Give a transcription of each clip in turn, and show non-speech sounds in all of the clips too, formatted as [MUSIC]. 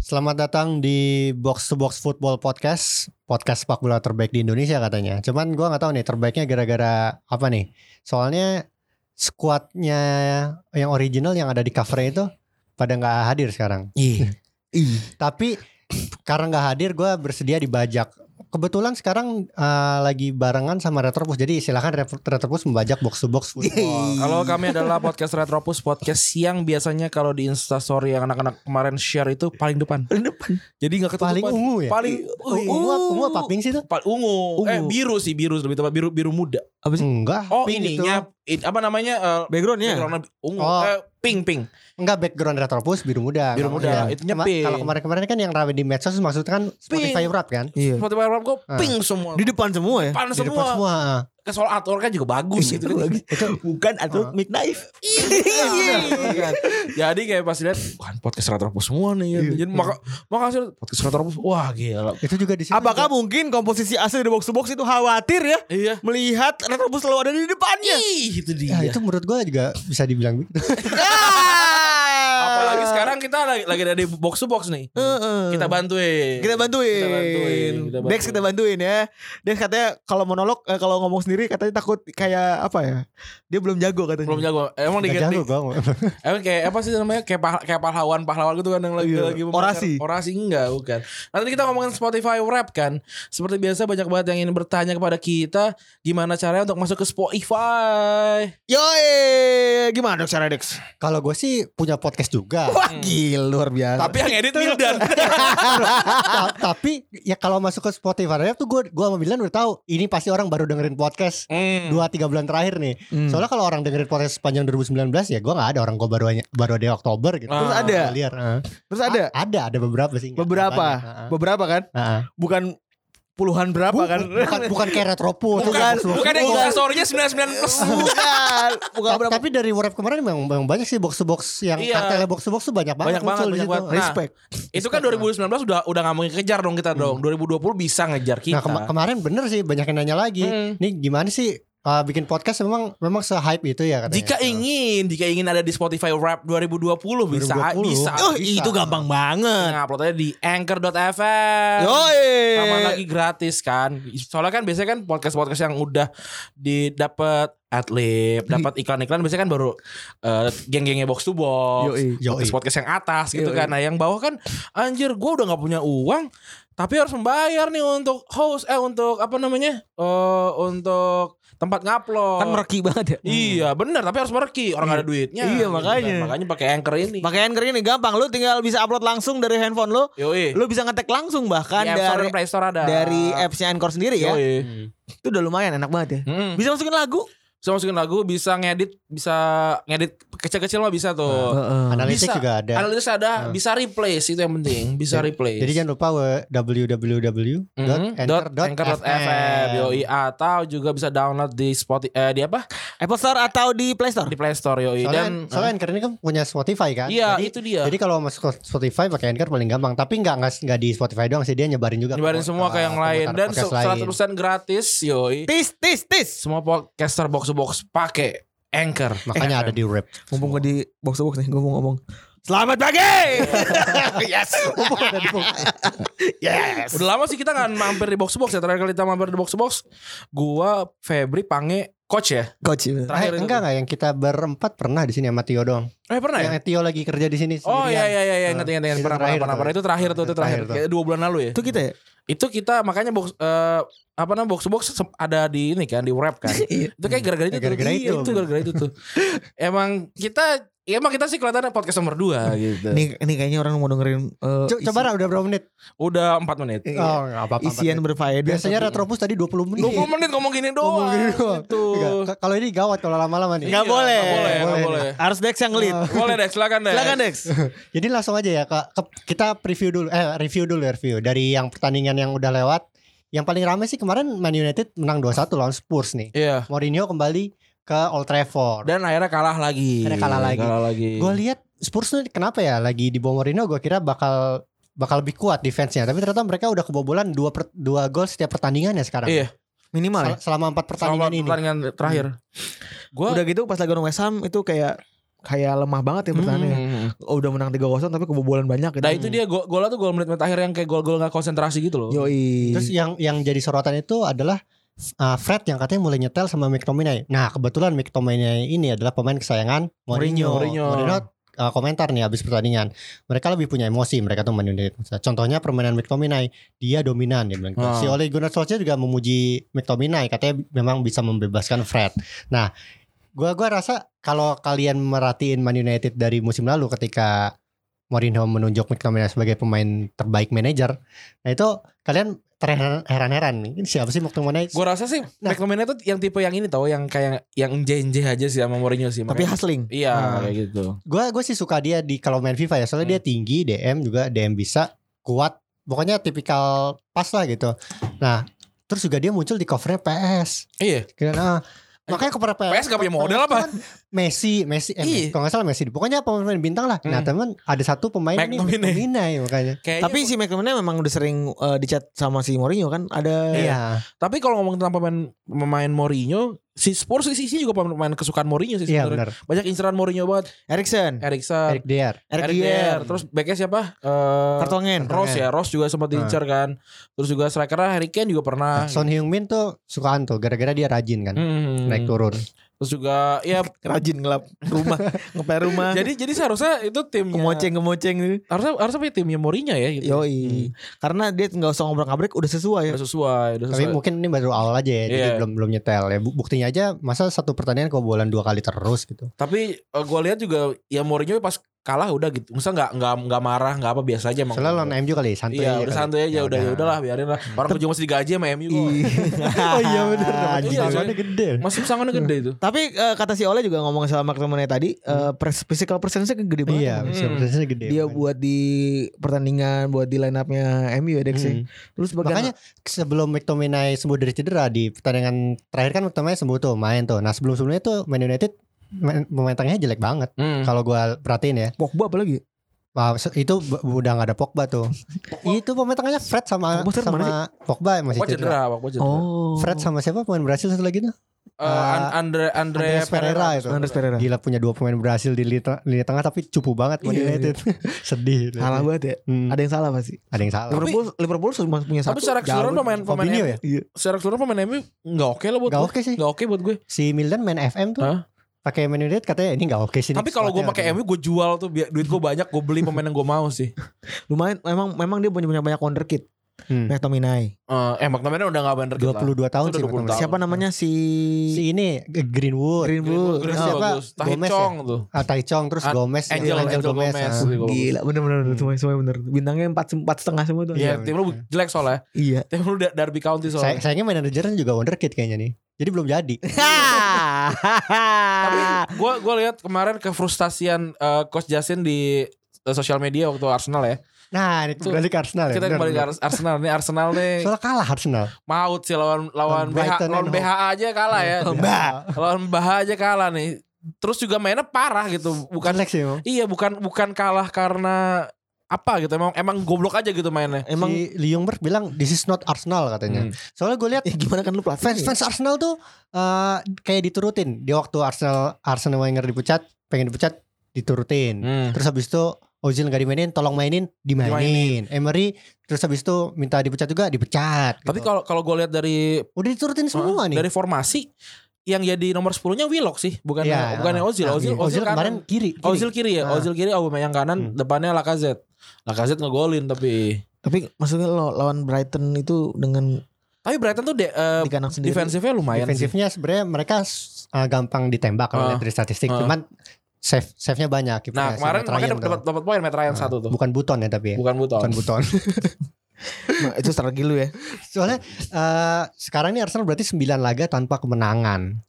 Selamat datang di Box to Box Football Podcast, podcast sepak bola terbaik di Indonesia katanya. Cuman gua nggak tahu nih terbaiknya gara-gara apa nih. Soalnya skuadnya yang original yang ada di covernya itu pada nggak hadir sekarang. Iya. Tapi karena nggak hadir gua bersedia dibajak. Kebetulan sekarang eh, lagi barengan sama Retropus. Jadi silakan Retro- Retropus membajak Box to Box Football. Kalau kami adalah podcast Retropus, podcast yang biasanya kalau di Instastory yang anak-anak kemarin share itu paling depan. Paling depan. Jadi nggak ketutupan. Paling ungu ya? Paling Ungu apa- ungu apa pink sih itu? Pal- ungu. Ungu. Eh biru sih biru lebih tepat biru biru muda. Apa sih? Enggak. Oh pink itu. ininya it- apa namanya? eh, Backgroundnya? backgroundnya ungu. Oh. Eh, pink pink. Enggak background retropus biru muda. Biru Kalau- muda, iya. itunya Kema- pink. Kalau kemarin-kemarin kan yang rame di medsos maksudnya kan Spotify Wrap kan. Iya. Seperti warna gue Ah. pink semua. Di depan semua ya? Depan Di depan semua. semua. ah. Ke soal atur kan juga bagus gitu. kan. Iya, Ah. Bukan atau midknife. [LAUGHS] Iya. Jadi kayak pas lihat kan podcast Retropus semua nih. gitu. Jadi maka makasih podcast Retropus. Wah gila. Itu juga di situ. Apakah juga. mungkin komposisi asli di box to box itu khawatir ya Iya. melihat retrobus selalu ada di depannya? Ih, itu Ya, dia. Iya. itu menurut gua juga bisa dibilang gitu. Apalagi sekarang kita lagi, lagi ada di box to box nih. Ah. Heeh. Kita bantuin. Eh. Kita bantuin. Kita bantuin. Dex kita bantuin ya. Dex katanya kalau monolog eh, kalau ngomong sendiri katanya takut kayak apa ya? Dia belum jago katanya. Belum jago. Emang Gak diganti. jago gua. Emang Eh, kayak apa sih namanya? Kayak pah- kayak pahlawan-pahlawan gitu kan yang lagi Iya. lagi membakar- Orasi. Orasi enggak, bukan. Nah, tadi kita ngomongin Spotify Wrap kan. Seperti biasa banyak banget yang ingin bertanya kepada kita gimana caranya untuk masuk ke Spotify. Yoi, gimana dok cara Dex? Kalau gua sih punya podcast juga. Wah gila luar biasa. Tapi yang edit Wildan. Ta- tapi ya kalau masuk ke Spotify Wrap tuh gua gua sama Bilan udah tahu ini pasti orang baru dengerin podcast. Hmm. dua tiga bulan terakhir nih. Hmm. Soalnya kalau orang dengerin podcast sepanjang 2019 ya gua nggak ada orang gua baru baru ada Oktober gitu. Terus ada? Gua liar, ah. Terus ada A- ada ada beberapa sih. nggak beberapa, banyak, ah, ah. beberapa kan? Ah, ah. Bukan puluhan berapa Bu- kan? [LAUGHS] bukan bukan kayak retropus Bukan, Box to Box. bukan kan yang Bukan. instastory-nya 99 plus. bukan, bukan Ta- berapa? tapi dari Warp kemarin memang, memang banyak sih box to box yang Iya. kartelnya box to box tuh banyak banget Banyak banget, muncul di banyak situ. Nah, banget. Nah, Respect. Itu kan 2019 udah udah nggak mau kejar dong kita dong. 2020 bisa ngejar kita. Nah kema- kemarin bener sih banyak yang nanya lagi. Hmm. Nih gimana sih uh, bikin podcast memang memang se hype itu ya katanya. Jika ingin, jika ingin ada di Spotify Wrap 2020 bisa 2020. bisa. Oh, Oh, bisa. itu gampang banget. Nah, uploadnya di anchor.fm. Yoi. Sama lagi gratis kan. Soalnya kan biasanya kan podcast-podcast yang udah didapat Iya. adlib, dapat iklan-iklan biasanya kan baru eh, geng-gengnya box to box. Yoi. Yoi. Podcast-podcast yang atas gitu Yoi. kan. Nah, yang bawah kan anjir gua udah nggak punya uang tapi harus membayar nih untuk host eh untuk apa namanya? Eh untuk tempat ngupload. Kan mereki banget ya. Iya benar tapi harus mereki orang nggak ada duitnya. Iya, Gitu makanya. kan. Makanya pakai anchor ini. Pakai anchor ini gampang, lu tinggal bisa upload langsung dari handphone lu. Yoi. Lu bisa ngetek langsung bahkan Di App Store dari dan Play Store ada. dari appsnya Anchor sendiri Iya, ya. Yoi. Hmm. Itu udah lumayan enak banget ya. Mm-mm. Bisa masukin lagu. Bisa masukin lagu, bisa ngedit, bisa ngedit kecil-kecil mah bisa Nah, oh, tuh. Heeh. Analitik Bisa. juga ada. Analisis ada, bisa replace itu yang penting, bisa ya. replace. Hmm. Hmm. Jadi kan jangan lupa we- www.anchor.fm www.anchor.fm. yoi atau juga bisa download di Spotify eh, di apa Apple Store atau di Play Store. di Play Store yoi Soalnya, dan uh-huh. soalnya Anchor ini kan punya Spotify kan. iya Jadi, itu dia jadi kalau masuk ke Spotify pakai Anchor paling gampang, tapi nggak nggak nggak di Spotify doang sih dia nyebarin juga. ke- nyebarin semua ke yang lain pemutar dan podcast se- lain. 100% gratis yoi Tis tis tis. semua podcaster box to box pakai Anchor Makanya ada di [LAUGHS] rap. Mumpung gue di box to box nih, gue mau ngomong. Selamat pagi. yes. Oh, Eh, yes. Udah lama sih kita nggak mampir di box to box ya. Terakhir kali kita mampir di box to box, gua Febri Pange coach ya. Coach. Eh, Terakhir itu. enggak enggak yang kita berempat pernah di sini sama Tio doang. Eh pernah ya? Yang Tio lagi kerja di sini Oh iya sendirian. iya iya ingat ingat ingat Itu pernah pernah terakhir pernah tuh. pernah. itu terakhir tuh itu Itu terakhir terakhir tuh. kayak dua bulan lalu ya. Itu kita ya? Itu kita makanya box eh, apa namanya box to box sem- ada di ini kan di web kan. [LAUGHS] Iya. itu kayak gara-gara itu tuh. Gara-gara [LAUGHS] Iya, itu. itu gara-gara itu tuh. Emang kita ya emang kita sih kelihatannya podcast nomor 2 gitu. Ini ini kayaknya orang mau dengerin eh, Co- isi- Coba Ra, udah berapa menit? Udah 4 menit. Iya. Oh, nggak apa-apa. isian empat menit. berfaedah. Biasanya tapi- Retropus tadi 20 menit. 20 menit ngomong gini doang. Ngomong gini doang. Gitu. Nggak, k- Kalau ini gawat kalau lama-lama nih. Nggak Iya, boleh. nggak boleh, nggak Nggak boleh. Harus Dex yang lead. ya. Oh. Boleh deh, silakan deh. Silakan [LAUGHS] Dex. Jadi langsung aja ya Kak. Ke- kita preview dulu eh review dulu ya, review dari yang pertandingan yang udah lewat. Yang paling rame sih kemarin Man United menang 2-1 lawan Spurs nih. Iya. Mourinho kembali ke Old Trafford. Dan akhirnya kalah lagi. Akhirnya kalah lagi. Kalah lagi. Gue lihat Spurs tuh kenapa ya lagi di bawah Mourinho gue kira bakal bakal lebih kuat defense-nya. Tapi ternyata mereka udah kebobolan 2 per, dua gol setiap pertandingannya sekarang. Iya, Minimal ya. Sel- Selama 4 Sama pertandingan ini. pertandingan terakhir. Gue Udah gitu pas lagi lawan West Ham itu kayak kayak lemah banget ya pertahanannya. Hmm. Oh, udah menang 3-0 tapi kebobolan banyak gitu. Nah itu dia gol golnya tuh gol menit-menit akhir yang kayak gol-gol gak konsentrasi gitu loh. Yoi. Terus iya, yang yang jadi sorotan itu adalah uh, Fred yang katanya mulai nyetel sama McTominay. Nah kebetulan McTominay ini adalah pemain kesayangan Mourinho. Mourinho. uh, komentar nih habis pertandingan. Mereka lebih punya emosi mereka tuh Man United. Contohnya permainan McTominay dia dominan dia bilang. gitu. Ah. Si Ole Gunnar Solskjaer juga memuji McTominay katanya memang bisa membebaskan Fred. Nah gua gua rasa kalau kalian merhatiin Man United dari musim lalu ketika Mourinho menunjuk McTominay sebagai pemain terbaik manajer. Nah itu kalian terheran-heran nih. Ini siapa sih McTominay? Gue rasa sih Nah. McTominay tuh yang tipe yang ini tau yang kayak yang jenjeh aja sih sama Mourinho sih. tapi makanya- hustling. Iya Ah. kayak gitu. Gue gue sih suka dia di kalau main FIFA ya. Soalnya Hmm. dia tinggi, DM juga DM bisa, kuat. Pokoknya tipikal pas lah gitu. Nah terus juga dia muncul di covernya PS. Iya. Kira ah, makanya cover PS. PS gak punya model apa? Cuman Messi, Messi, eh, Iya. kalau nggak salah Messi. Pokoknya pemain bintang lah. Nah Hmm. teman ada satu pemain ini McTominay. McTominay [LAUGHS] makanya. Kayaknya- Tapi si McTominay memang udah sering eh, dicat sama si Mourinho kan. Ada Iya, tapi kalau ngomong tentang pemain pemain Mourinho, si Spurs sih sih juga pemain, pemain kesukaan Mourinho sih iya benar. sebenarnya. Banyak inceran Mourinho banget. Erikson, Eriksen, Eric Dier. Eric Eric Dier, Dier, terus backnya siapa? Eh Vertonghen. Ross ya, Ross juga Nah. sempat diincar kan. Terus juga strikernya Harry Kane juga pernah. Son Heung-min tuh sukaan tuh gara-gara dia rajin kan. iya. Hmm. Naik turun. Terus juga [LAUGHS] ya Rajin ngelap rumah, [LAUGHS] ngepel rumah. jadi iya. jadi seharusnya itu tim kemoceng kemoceng gitu. harusnya harusnya punya timnya Mourinho ya gitu. Yoi. Karena dia nggak usah ngobrol ngabrik udah sesuai. Udah sesuai, udah Tapi sesuai. mungkin ini baru awal aja ya, jadi Iya. belum belum nyetel ya. Bu- Buktinya aja masa satu pertandingan kebobolan dua kali terus gitu. Tapi eh, gue lihat juga ya Mourinho pas kalah udah gitu. Masa nggak nggak nggak marah nggak apa biasa aja emang. Soalnya lawan MU kali ya, santai. Iya udah kali. santai aja Ya udah ya udahlah biarin lah. Orang juga masih digaji sama MU. kok. [LAUGHS] oh iya [LAUGHS] benar. Ah, Iya, gitu. soalnya- [LAUGHS] gede. Masih pesangonnya gede itu. Tapi eh, kata si Ole juga ngomong sama McTominay tadi, eh, pres- physical presence-nya kan gede banget. Iya, Bang. Hmm. presence-nya gede. Dia buat di pertandingan, buat di line up-nya MU ya Dex ya. Hmm. Terus bagian Makanya sebelum McTominay sembuh dari cedera di pertandingan terakhir kan McTominay sembuh tuh main tuh. Nah sebelum sebelumnya tuh Man United main- pemain tengahnya jelek banget. Iya. Hmm. Kalau gua perhatiin ya, Pogba apalagi? Wah, se- itu b- udah gak ada Pogba tuh. itu pemain tengahnya Fred sama Pogba sekarang sama mana Pogba masih Pogba cedera. cedera, Pogba cedera. Oh. Fred sama siapa pemain Brasil satu lagi tuh? Eh, An- Andre Andre ah, Andreas Pereira itu. Andres Pereira. Nah. Gila punya dua pemain Brasil di lini, teng- lini tengah tapi cupu banget Man Iya, United. [LAUGHS] Sedih. Salah banget ya. Hmm, Ada yang salah pasti. ada yang salah. Liverpool Liverpool cuma punya satu. Tapi secara keseluruhan Giroud. pemain pemain Fabinho MU, ya? Iya. secara keseluruhan pemain MU nggak oke lah buat Gak gue. oke sih. Nggak oke buat gue. Si Mildan main FM tuh. Hah? Pakai Man United katanya ini gak oke sih. Tapi kalau gue pakai MU gue jual tuh biar duit gue banyak gue beli pemain yang gue mau sih. Lumayan memang memang dia punya punya banyak wonderkid. Hmm. McTominay. Eh, eh McTominay udah nggak bener gitu lah. 22 tahun sih. Sudah 20 McTominay. tahun. Siapa namanya si Si ini G- Greenwood. Greenwood. Greenwood Oh, siapa? bagus. Tahit Gomez ya? Chong tuh. Ah, Taichong terus Ah, Gomez. Angel, Angel Angel Gomez. ah. Gila, bagus. Oh, Gila bener bener bener, semuanya semuanya bener Bintangnya empat empat setengah semua tuh Iya, tim lu jelek soalnya. Iya Tim lu da- Derby County Say- soalnya. sayangnya manajernya juga wonderkid kayaknya nih. Jadi belum jadi. [LAUGHS] Tapi Tapi gue gue lihat kemarin kefrustasian eh, Coach Justin di eh, sosial media waktu Arsenal ya. Nah, ini kembali ke Arsenal ya. Kita benar, kembali ke benar. Ars- Arsenal nih. Arsenal [LAUGHS] nih Soalnya kalah Arsenal. maut sih lawan Lawan lawan BH, Brighton lawan and BH aja kalah ya. lawan BH aja kalah nih. Terus juga mainnya parah gitu. Bukan Bukan Lex sih. emang. iya bukan bukan kalah karena apa gitu emang emang goblok aja gitu mainnya. Emang si Liungberg bilang this is not Arsenal katanya. Hmm. Soalnya gue lihat [LAUGHS] ya gimana kan lu Iya. platform fans fans Arsenal tuh eh, kayak diturutin. Di waktu Arsenal Arsenal Wenger dipecat, pengen dipecat diturutin. Hmm. Terus habis itu Ozil gak dimainin, tolong mainin, dimainin. Emery terus habis itu minta dipecat juga, dipecat. gitu. Tapi kalau kalau gue lihat dari udah diturutin semua nih. dari formasi yang jadi nomor 10-nya Willock sih, bukan Iya. bukan Ozil. Nah, Ozil, kan- iya. Ozil kemarin Hmm. kiri. kiri. Ozil kiri ya, Ah. Ozil kiri, Aubameyang kanan, depannya Lacazette. Lacazette ngegolin tapi Tapi maksudnya lo lawan Brighton itu dengan tapi Brighton tuh de, eh, di kandang sendiri defensifnya lumayan sih. defensifnya sebenarnya mereka s- uh, eh, gampang ditembak kalau Ah. lihat dari statistik. Ah. Cuman save save-nya banyak. Kipernya Nah si kemarin Matt makanya Ryan dapat tuh. dapat poin Matt Ryan Nah, satu tuh. Bukan Buton ya tapi ya. Bukan buton. Bukan Buton. Nah, itu strategi lu ya. Soalnya eh, sekarang ini Arsenal berarti 9 laga tanpa kemenangan.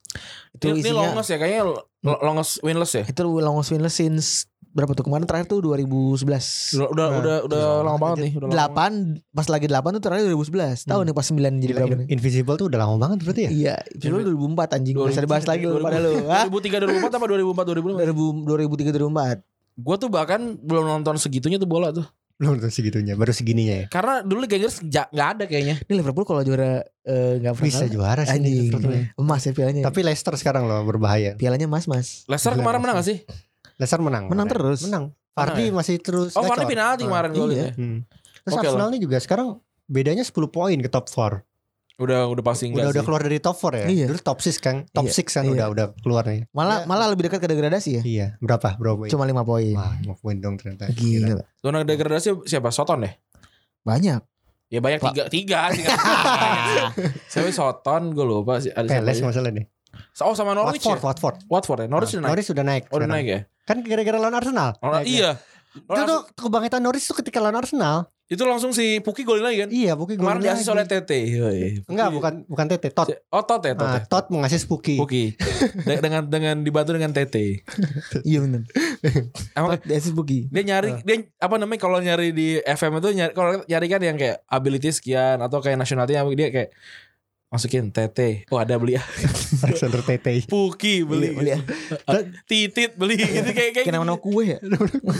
Itu Ini, ini isinya. longos ya kayaknya Hmm. lo- longos winless ya. Itu longos winless since berapa tuh kemarin terakhir tuh 2011. Udah udah Nah, udah, udah lama. lama banget nih. Udah lama banget. 8 pas lagi 8 tuh terakhir 2011. Tahun Hmm. nih pas 9 jadi Gila, berapa In- nih? Invisible tuh udah lama banget berarti ya. Iya, Jadi- dulu 2004 anjing. Bisa 2000, dibahas lagi lu 2000. pada lu. Hah? 2003 2004 apa 2004 2005. 2000 2003 2004. Gue tuh bahkan belum nonton segitunya tuh bola tuh. Belum tuh segitunya, baru segininya ya. Iya, Karena dulu Liga Inggris ja- nggak ada kayaknya. Ini Liverpool kalau juara eh, nggak pernah Bisa kalah. juara sih ini Anjing. sebetulnya. emas ya pialanya. Tapi Leicester sekarang loh berbahaya. pialanya emas-mas. Leicester Gila, kemarin Iya, Leicester. menang gak sih? Leicester menang. Menang kemarin. terus. Menang. Vardy Menang masih terus Oh Vardy gacor. penalti Ah. kemarin Iya. golnya. Hmm. Terus Oke Arsenal ini juga sekarang bedanya 10 poin ke top 4. Udah udah pasti Udah udah enggak sih. keluar dari top 4 ya. Iya. Dulu top 6 kan. Top Iya. 6 kan Iya. udah udah keluar nih. Malah Ya. malah lebih dekat ke degradasi ya. Iya, berapa? Berapa poin? Cuma 5 poin. Wah, 5 poin dong ternyata. Gila. Gila. Zona degradasi siapa? Soton deh. Banyak. Ya banyak Pak. tiga tiga [LAUGHS] sih. [LAUGHS] Siapa sih? Soton gue lupa sih ada siapa Peles sih. masalah nih. Oh sama Norwich Watford, ya? Watford. Watford ya? Norwich udah naik. Norwich sudah naik. Oh, udah sekarang. naik ya? Kan gara-gara lawan Arsenal. Oh, Naiknya. iya. Itu Oh, tuh kebangkitan Norwich tuh ketika lawan Arsenal. Itu langsung si Puki golin lagi kan? Iya, Puki Kemarin golin lagi. diasis oleh TT. Yoi. Enggak, Iya, Puki- bukan bukan Tete, Tot. Oh, Tot ya, Tot. Nah, ya. Tot mengasih Puki. Puki. [LAUGHS] De- dengan dengan dibantu dengan TT. Iya benar. Emang Emang Desis Buki. dia nyari dia apa namanya kalau nyari di FM itu nyari kalau nyari kan yang kayak ability sekian atau kayak nasionalnya dia kayak masukin TT. Oh, ada beli [LAUGHS] [LAUGHS] Alexander Tete. Puki beli. beli. Titit beli gitu [LAUGHS] kayak kayak. Kayak nama-nama kue ya.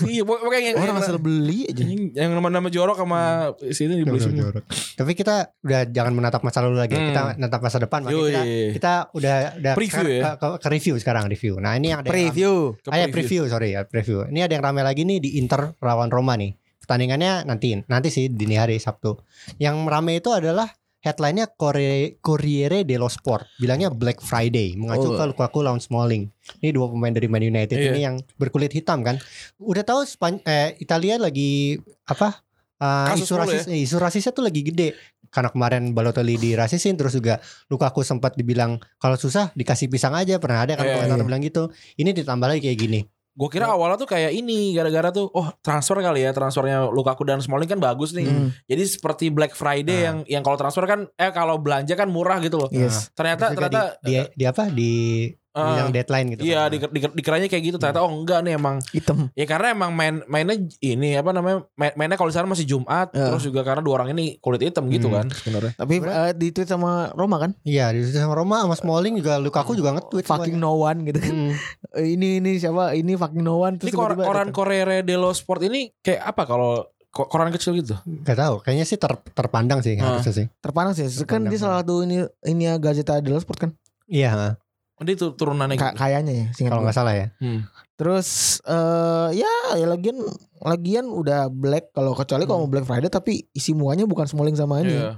Iya, pokoknya yang Orang asal beli aja. yang nama-nama jorok sama sini dibeli Jorok, semua. jorok. Tapi kita udah jangan menatap masa lalu lagi. Hmm. Kita menatap masa depan. Makanya kita, Yoi. kita udah udah Preview ke, ya? ke, ke review sekarang review. Nah ini yang ada yang rame- Preview. Ke Ah, ya, preview sorry ya preview. Ini ada yang ramai lagi nih di Inter lawan Roma nih. Pertandingannya nanti nanti sih dini hari Sabtu. Yang ramai itu adalah headline-nya Corre- Corriere dello Sport. Bilangnya Black Friday mengacu Oh. ke Lukaku lawan Smalling. Ini dua pemain dari Man United Iya. ini yang berkulit hitam kan. Udah tahu Span- eh, Italia lagi apa? Uh, Kasus isu mulu ya? rasis, eh, isu rasisnya tuh lagi gede karena kemarin Balotelli dirasisin terus juga Lukaku sempat dibilang kalau susah dikasih pisang aja pernah ada kan Iya, komentar iya. bilang gitu ini ditambah lagi kayak gini Gue kira awalnya tuh kayak ini gara-gara tuh oh transfer kali ya transfernya Lukaku dan Smalling kan bagus nih. Hmm. Jadi seperti Black Nah. Friday yang yang kalau transfer kan eh kalau belanja kan murah gitu loh. Yes. Terus Ternyata juga ternyata di, di- di apa di eh, bilang deadline gitu kan. iya di, di, dikiranya kayak gitu ternyata oh enggak nih emang Hitam. ya karena emang main mainnya ini apa namanya main, mainnya kalau di sana masih Jumat Eh. terus juga karena dua orang ini kulit hitam gitu Hmm. kan sebenarnya. Tapi eh, di tweet sama Roma kan. iya di situ sama Roma sama Smalling juga Lukaku juga nge-tweet Fucking semuanya. no one gitu kan. Hmm. Eh, Ini ini siapa? Ini fucking no one. Ini Terus kor- tiba-tiba koran datang. Corriere dello Sport ini kayak apa kalau ko- koran kecil gitu? Gak tahu kayaknya sih ter- terpandang sih Ah. harusnya sih terpanas ya. Kan Terpandang. dia salah satu ini ini ya, Gazeta dello Sport kan. iya Ini tuh turunannya gitu. Ka- kayaknya ya, singkat kalau gua. nggak salah ya Hmm. Terus eh ya, ya lagian lagian udah black kalau kecuali kalau mau Black Friday tapi isi muanya bukan Smalling sama ini. Iya. ya.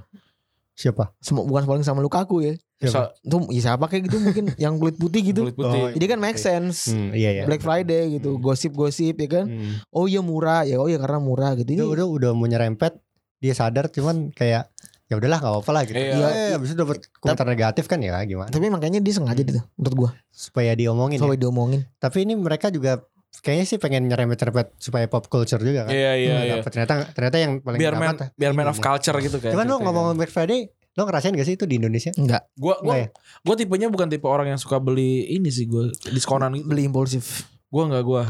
siapa Sem- bukan Smalling sama Lukaku ya. Siapa? Sa- Itu ya siapa kayak gitu mungkin yang kulit putih gitu. kulit putih. Oh, iya. Jadi kan make sense. Hmm, iya iya Black Friday gitu, gosip-gosip ya kan. Hmm. Oh iya murah ya, oh iya karena murah gitu. Ini dia udah udah mau nyerempet dia sadar cuman kayak ya udahlah nggak apa-apa lah gitu Iya. Iya, eh, abis itu dapat komentar negatif kan ya gimana tapi makanya dia sengaja gitu menurut gua. supaya diomongin ya. Sampai diomongin. tapi ini mereka juga kayaknya sih pengen nyerempet-nyerempet supaya pop culture juga kan Iya iya Nggak iya. dapet. ternyata ternyata yang paling biar man, dapat biar man ini of nih. culture gitu kan. Cuman lo ngomong Black Friday, lo ngerasain gak sih itu di Indonesia? Enggak, Gue gue Nggak ya? gue tipenya bukan tipe orang yang suka beli ini sih gue diskonan gitu. beli impulsif. Gue nggak gue.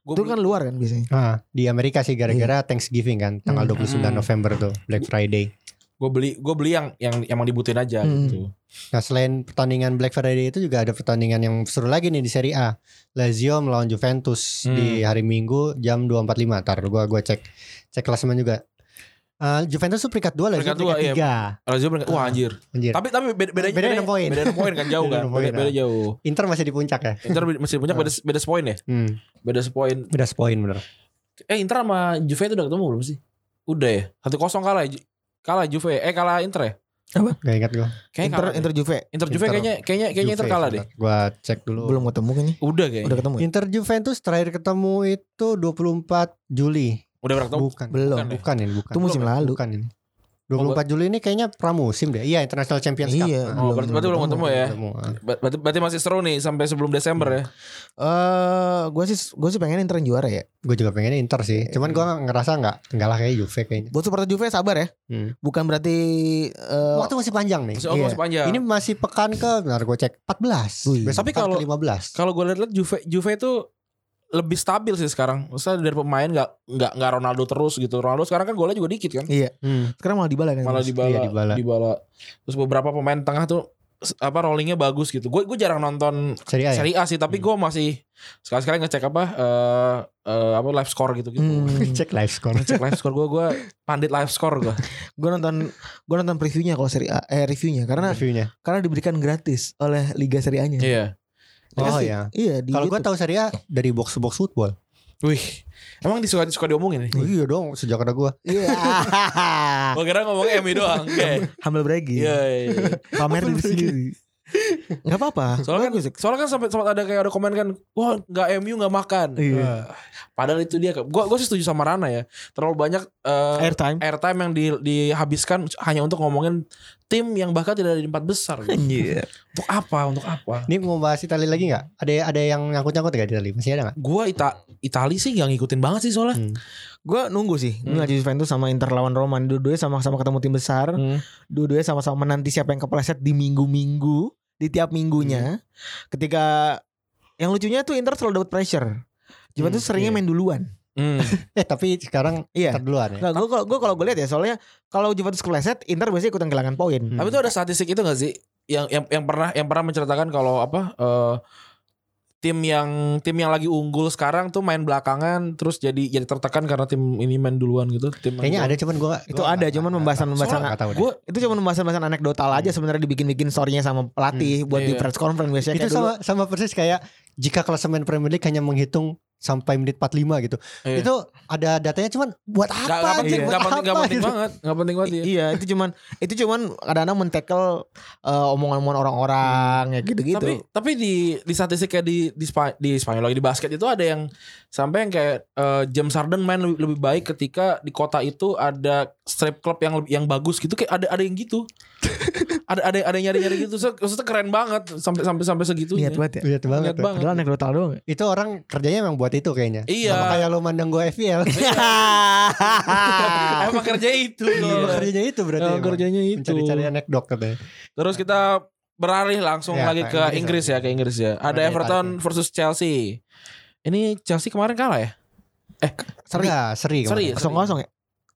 Gue Itu kan luar kan biasanya. Ah, di Amerika sih gara-gara Thanksgiving kan, tanggal Hmm. 29 Hmm. November tuh, Black Friday. gue beli gue beli yang yang emang dibutuhin aja Hmm. gitu. Nah selain pertandingan Black Friday itu juga ada pertandingan yang seru lagi nih di Serie A. Lazio melawan Juventus Hmm. di hari Minggu jam 2.45. Ntar gua gua cek cek klasemen juga. Eh, Juventus tuh peringkat 2 Lazio Peringkat peringkat, dua, iya. 3. Lazio berangkat- wah anjir. Anjir. Tapi tapi beda bedanya Bedanya Iya. enam poin. Beda enam poin kan jauh Beda kan. enam Beda, poin, ah. beda jauh. Inter masih di puncak ya. Inter masih punya beda beda sepoin ya. Hmm. Beda sepoin. Beda sepoin bener. Eh Inter sama Juve itu udah ketemu belum sih? Udah ya. Satu kosong kalah. ya Ju- Kalah Juve. Eh kalah Inter ya. Gak ingat gua. Kayaknya Inter kalah deh. Inter Juve Inter Juve Inter- kayaknya kayaknya kayaknya Inter Juve, kalah deh. sebentar. Gua cek dulu. belum ketemu kayaknya. Udah kayaknya. Udah ketemu. ya? Inter Juventus terakhir ketemu itu 24 Juli. Udah berangkat. Bukan. Belum. Bukan ini, bukan. Itu musim Belum ya? lalu. Bukan ini. 24 Juli ini kayaknya pramusim deh. Iya, International Champions Cup. Iya, Ah, Oh, berarti, berarti belum belum ketemu ya. ketemu, ah. Ber- Berarti, berarti masih seru nih sampai sebelum Desember Iya. ya. Eh, gue sih gue sih pengen Inter juara ya. Gue juga pengennya Inter sih. Cuman gue ngerasa nggak nggak lah kayak Juve kayaknya. Buat supporter Juve sabar ya. Hmm. Bukan berarti eh, Waktu masih panjang nih. Masih oh, Iya. masih panjang. Ini masih pekan ke, bentar gue cek 14. Wih. Besok Tapi pekan kalau- ke 15. Kalau gue lihat-lihat Juve Juve itu lebih stabil sih sekarang. Maksudnya dari pemain nggak nggak nggak Ronaldo terus gitu. Ronaldo sekarang kan golnya juga dikit kan. Hmm. iya. sekarang malah dibalik kan. Malah Mas? dibala, Iya, Dybala. Dybala. Terus beberapa pemain tengah tuh s- apa rollingnya bagus gitu. Gue gue jarang nonton Serie A ya? Serie A sih, tapi Hmm. gue masih sekali-sekali ngecek apa eh eh, apa live score gitu gitu. [LAUGHS] Hmm. [LAUGHS] Cek live score. Ngecek live score gue gue pandit live score gue. gue nonton gue nonton previewnya kalau seri A, eh reviewnya karena Reviewnya. karena diberikan gratis oleh Liga Serie A-nya. Iya. Oh Dikasih. ya. Iya, di Kalau gue YouTube. tahu Serie A dari box to box football. Wih. Emang disuka suka diomongin nih. Iya dong, sejak ada gue. [LAUGHS] Iya. Ah. Gue kira ngomongnya MU doang. Oke. Humble bragging. Iya. iya, iya. Pamer diri sendiri. Gak apa-apa. Soalnya kan, Bagus, Zik. soalnya kan sampai sempat ada kayak ada komen kan, wah nggak MU nggak makan. Iya. Eh, Padahal itu dia, gue gue sih setuju sama Rana ya. Terlalu banyak eh, airtime. airtime yang di, dihabiskan hanya untuk ngomongin tim yang bahkan tidak ada di empat besar. [LAUGHS] Gitu. Iya. untuk apa? Untuk apa? [LAUGHS] Ini mau bahas Itali lagi nggak? Ada ada yang nyangkut-nyangkut gak di Itali? Masih ada nggak? Gue Ita Itali sih nggak ngikutin banget sih soalnya. Hmm. Gue nunggu sih. Hmm. Nunggu Juventus sama Inter lawan Roma. Dua-duanya sama-sama ketemu tim besar. Hmm. Dua-duanya sama-sama menanti siapa yang kepleset di minggu-minggu. Di tiap Hmm. minggunya. Ketika yang lucunya tuh Inter selalu dapat pressure. Juventus Hmm, seringnya iya. main duluan. Hmm. Eh tapi sekarang Iya. terduluan ya. Nah, gue gue kalau gue lihat ya soalnya kalau Juventus kepleset, Inter biasanya ikutan kehilangan poin. Hmm. Tapi tuh ada statistik itu gak sih yang yang yang pernah yang pernah menceritakan kalau apa eh, tim yang tim yang lagi unggul sekarang tuh main belakangan terus jadi jadi tertekan karena tim ini main duluan gitu. Tim Kayaknya ada cuman gue Itu ada, cuman pembahasan-pembahasan- Gue Gue Itu cuma pembahasan-pembahasan anekdotal aja sebenarnya dibikin-bikin story-nya sama pelatih buat Iya. di press conference biasanya Hmm. itu kayak dulu. sama sama persis kayak jika klasemen Premier League hanya menghitung sampai menit 45 gitu. Iya. Itu ada datanya cuman buat apa? gak, gak penting, anjir? gak Buat penting, gak apa? penting Gitu. banget, gak penting banget. iya. Iya, itu cuman itu cuman kadang-kadang men-tackle eh, omongan-omongan orang-orang ya gitu-gitu. Tapi tapi di di statistiknya di di, Spa- di Spanyol lagi di basket itu ada yang sampai yang kayak eh, James Harden main lebih, lebih baik ketika di kota itu ada strip club yang lebih- yang bagus gitu kayak ada ada yang gitu. ada ada ada yang nyari-nyari gitu. So, Maksudnya keren banget sampai sampai sampai segitunya. Niat banget ya. [LAUGHS] Lihat banget. Lihat tuh. banget. Padahal anekdotal doang. ya. Itu orang kerjanya memang buat itu kayaknya. Iya. Sama kayak lo mandang gue FPL. [LAUGHS] [LAUGHS] Emang kerja itu. Emang kerjanya itu berarti. Iya, emang. Emang Iya. kerjanya itu. Mencari-cari ya. anekdot katanya. Terus kita beralih langsung Ya, lagi ke ke Inggris Inggris ya, ke Inggris ya. Ada Ada Everton versus Chelsea. Ini Chelsea kemarin kalah ya? Seri. Enggak, seri. Seri. kemarin. Kosong kosong ya.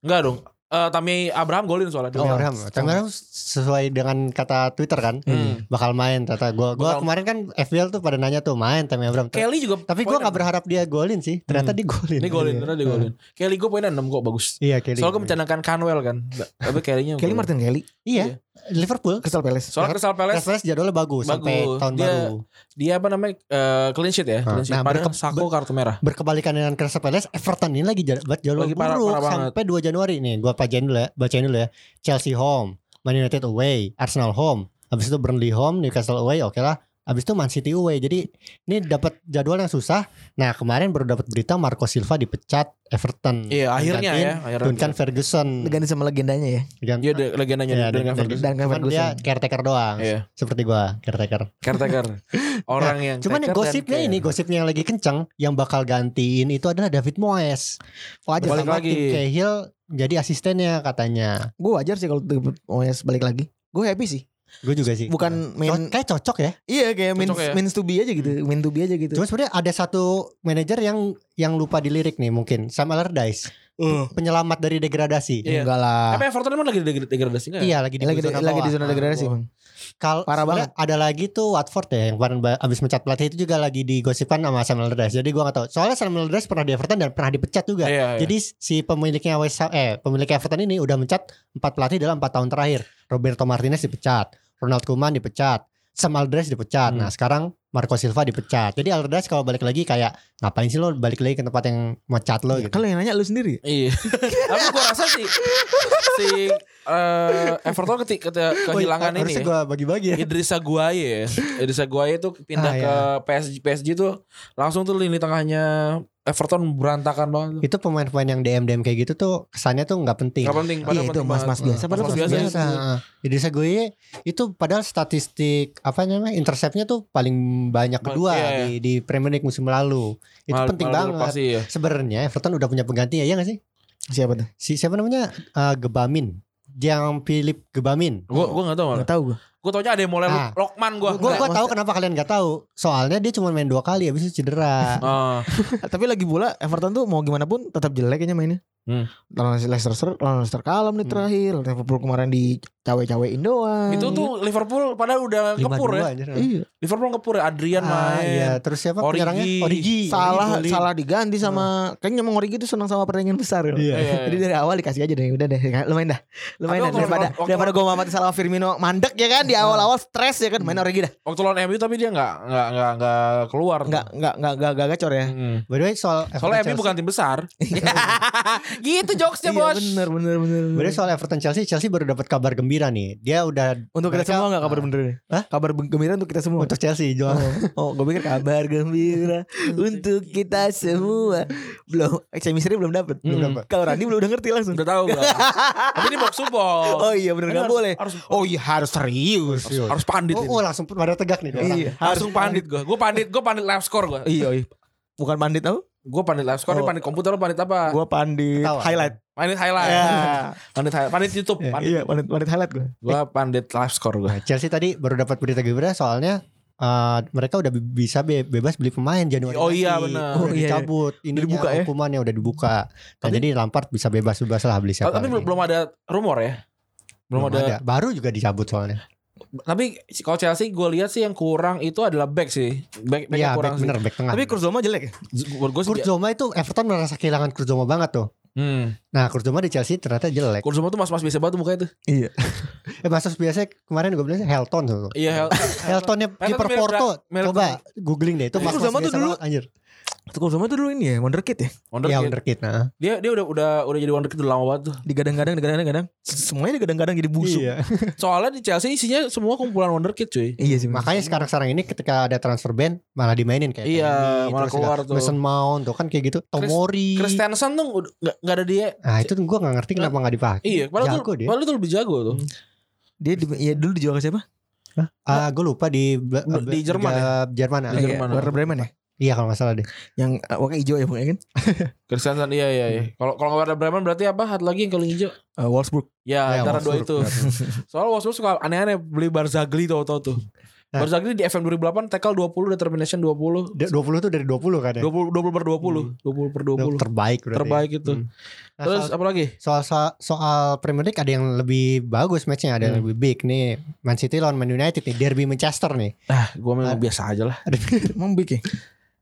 Enggak dong. Eh Tammy Abraham golin soalnya. Oh, Abraham. Abraham sesuai dengan kata Twitter kan. Hmm. Bakal main kata gue. Gue Bakal- kemarin kan FPL tuh pada nanya tuh main Tammy Abraham. Kelly juga Tapi gue poinnya- gak berharap dia golin sih. Ternyata dia golin. Ini Iya. golin, Hmm. ternyata dia golin. Kelly gue poinnya 6 kok bagus. Iya, Kelly. Soalnya gue mencanangkan Canwell kan. Tapi Kelly-nya Kelly golin. Martin Kelly, Iya, Liverpool. Crystal Palace. Soalnya Crystal Palace Reference jadwalnya bagus, sampai Bagus. tahun Dia- baru. dia apa namanya eh, clean sheet ya, Nah, clean sheet. nah, Padahal mereka- Sako kartu merah. Berkebalikan dengan Crystal Palace, Everton ini lagi jad- buat jadwal Lagi buruk parah- parah banget. sampai 2 Januari nih. Gua bacain dulu ya, bacain dulu ya. Chelsea home, Man United away, Arsenal home. Habis itu Burnley home, Newcastle away, oke lah. Habis itu Man City away. Jadi ini dapat jadwal yang susah. Nah, kemarin baru dapat berita Marco Silva dipecat Everton. Iya, akhirnya ya, akhirnya. Duncan Ferguson. Diganti sama legendanya ya. Ganti- Dia ada legendanya Iya, dengan Duncan Ferguson. Duncan Cuman dia Ferguson. caretaker doang. Iya. Seperti gua, caretaker. [LAUGHS] Caretaker. Orang yang Nah, Cuman taker dan gosipnya care. ini gosipnya yang lagi kencang yang bakal gantiin itu adalah David Moyes. Wajar. Balik Sama lagi. Tim Cahill jadi asistennya katanya. Gue wajar sih kalau David Moyes balik lagi. Gue happy sih. Gue juga Iya. sih. Co- Bukan main kayak cocok ya. iya kayak means, Cocok ya. means to be aja gitu. Means to be aja gitu. Cuma sebenarnya ada satu manajer yang yang lupa dilirik nih mungkin Sam Allardyce, Eh, penyelamat dari degradasi. Iya. enggak lah. Tapi Everton emang lagi degra- degradasi ya? enggak? Iya lagi di Lagi di, zona lagi di bawah. zona Ah, degradasi, gua- Bang. Kalau Parah sebenarnya ada lagi tuh Watford ya yang kemarin ba- abis mencat pelatih itu juga lagi digosipkan sama Sam Allardyce. Jadi gua gak tahu. Soalnya Sam Allardyce pernah di Everton dan pernah dipecat juga. Iya, iya. Jadi si pemiliknya West Ham- eh pemilik Everton ini udah mencat empat pelatih dalam empat tahun terakhir. Roberto Martinez dipecat, Ronald Koeman dipecat, Sam Allardyce dipecat. Hmm. Nah, sekarang Marco Silva dipecat. Jadi Allardyce kalau balik lagi kayak ngapain sih lo balik lagi ke tempat yang mecat lo gitu. Kalau yang nanya lu sendiri. Iya. [LAUGHS] Tapi gue rasa sih si eh, Everton keti- keti- kehilangan Woi, Oh, iya. ini. harusnya ya. gua bagi-bagi ya. Idrissa Guaye ya. Idrissa Guaye itu pindah Ah, ke PSG. PSG tuh langsung tuh lini tengahnya Everton berantakan banget. Itu pemain-pemain yang DM DM kayak gitu tuh kesannya tuh nggak penting. Gak penting. padahal Iya, itu penting mas-mas banget. biasa, padahal Mas-mas mas-mas biasa. biasa. Jadi saya gue itu padahal statistik apa namanya interceptnya tuh paling banyak Ba- kedua iya, di, di Premier League musim lalu. Itu Mal- penting banget. malah dilepasin, ya. Sebenarnya Everton udah punya penggantinya ya nggak sih? Siapa tuh? Si siapa namanya? Eh, Gebamin. Yang Philip Gebamin. Gue gue nggak tahu malah. Gak tau gue. Gue taunya ada yang mulai Iya. Ah. Lokman gue. Gue nggak- tahu kenapa kalian nggak tahu. Soalnya dia cuma main dua kali habis itu cedera. Ah. Tapi lagi bola Everton tuh mau gimana pun tetap jelek kayaknya mainnya. Hmm. Lawan Leicester, lawan Leicester kalem nih Hmm. terakhir. Liverpool kemarin di cawe-cawein doang. itu tuh Liverpool padahal udah kepur 5-2 ya. anjir. Iya. Liverpool kepur ya. Adrian Ah, main. iya. Terus siapa Origi. penyerangnya? Iya, Origi. Salah Origi golin. salah diganti sama kayaknya emang Origi tuh senang sama pertandingan besar. ya. Iya. Iya. [LAUGHS] Jadi dari awal dikasih aja deh, udah deh, lumayan dah, lumayan dah. Tapi waktu- daripada waktu- daripada gue mamati salah Firmino mandek ya kan di awal-awal stres ya kan main Origi dah, Waktu lawan MU tapi dia nggak nggak nggak nggak keluar. nggak nggak nggak nggak nggak gacor ya. Mm. By the way soal Soalnya Everton Iya, MU bukan tim [LAUGHS] besar. [LAUGHS] gitu jokesnya Iya bos. bener bener bener. Bener soal Everton Chelsea, Chelsea baru dapat kabar gembira nih. Dia udah Untuk kita mereka- semua nggak kabar bener nih? Hah? Kabar ben- gembira untuk kita semua. untuk Chelsea jual. Oh, gue pikir kabar gembira untuk kita semua. Belum, Chemistry belum dapet. Belum Mm. dapet. Kalau Randy belum udah ngerti langsung. Udah tahu [LAUGHS] gua. Tapi ini box to box. Oh iya bener Ini nggak harus- boleh. Harus, Oh iya harus serius. harus pandit. Oh, ini. Iya. oh, langsung pada tegak nih. orang. Iya. Langsung pandit gue. Gue pandit, gue pandit live score gue. Iya iya. Bukan pandit tau? Gue pandit live score, Oh. ini pandit komputer, lu pandit apa? Gue pandit Ketawa. highlight. Pandit highlight. Ya. [LAUGHS] Pandit highlight, pandit YouTube. Iya. Pandit. Iya [LAUGHS] pandit pandit highlight gue. Gue pandit live score gue. Nah, Chelsea tadi baru dapat berita gembira soalnya eh, mereka udah be- bisa be- bebas beli pemain Januari. Oh nanti. iya, benar. Udah Oh iya, iya. dicabut ini Udah dibuka ya? hukumannya udah dibuka. Nah, Tapi- jadi Lampard bisa bebas-bebas lah beli siapa. Tapi lagi. belum belum ada rumor ya. Belum, Belum ada. Baru juga dicabut soalnya. Tapi kalau Chelsea gue lihat sih yang kurang itu adalah back sih. Back, back Iya, yang kurang back sih. bener back tengah. Tapi Kurzoma jelek ya? Gue sih. Kurzoma itu Everton merasa kehilangan Kurzoma banget tuh. Hmm. Nah, Kurzoma di Chelsea ternyata jelek. Kurzuma tuh mas-mas biasa banget tuh mukanya tuh. Iya. Eh, maksud biasanya kemarin gue bilang Helton tuh. Iya. Hel- Heltonnya kiper mirip Porto. Dra- mirip Coba googling deh itu Tapi Mas Kurzoma tuh biasa dulu- banget, anjir. Kurzoma tuh dulu ini ya wonderkid ya. Wonderkid. Ya wonderkid. Nah. Dia dia udah udah udah jadi wonderkid udah lama banget tuh. Digadang-gadang, digadang-gadang. Semuanya digadang-gadang jadi busuk. Iya, Soalnya di Chelsea isinya semua kumpulan wonderkid cuy. sih. bener. Makanya sekarang-sekarang ini ketika ada transfer ban malah dimainin kayak Iya, Tony, malah terus keluar juga tuh. Mason Mount tuh kan kayak gitu. Tomori. Kristensen tuh udah- nggak nggak ada dia. Nah, itu gue gak ngerti kenapa gak dipakai. Iya, padahal Jago tuh, dia. padahal tuh lebih jago tuh. Dia di, ya dulu dijual ke siapa? Ah, gue lupa di Di Jerman ya? ya. Jerman. ah. Di Iya, Jerman. Werder Bremen ya? kalau nggak salah deh. Yang eh, warna hijau ya bukan kan? Kristensen iya iya Hmm. iya. Kalau kalau nggak ada Bremen berarti apa? Hat lagi yang paling hijau. Eh, Wolfsburg. Ya, Ya, antara dua Wolfsburg, itu. benar. [LAUGHS] Soalnya Wolfsburg suka aneh-aneh beli Barzagli tau-tau tuh. Nah. Barzagli di FM 2008 tackle 20 determination 20. Da- 20 tuh dari 20 kan ya. 20 20 per 20, 20 per 20. Terbaik Hmm. berarti. Terbaik itu. Hmm. Nah, Terus soal- apa lagi? soal, soal soal Premier League ada yang lebih bagus matchnya, ada yang Hmm. lebih big nih. Man City lawan Man United nih, derby Manchester nih. [LAUGHS] Ah, gua memang Ah. biasa aja lah. Emang big ya?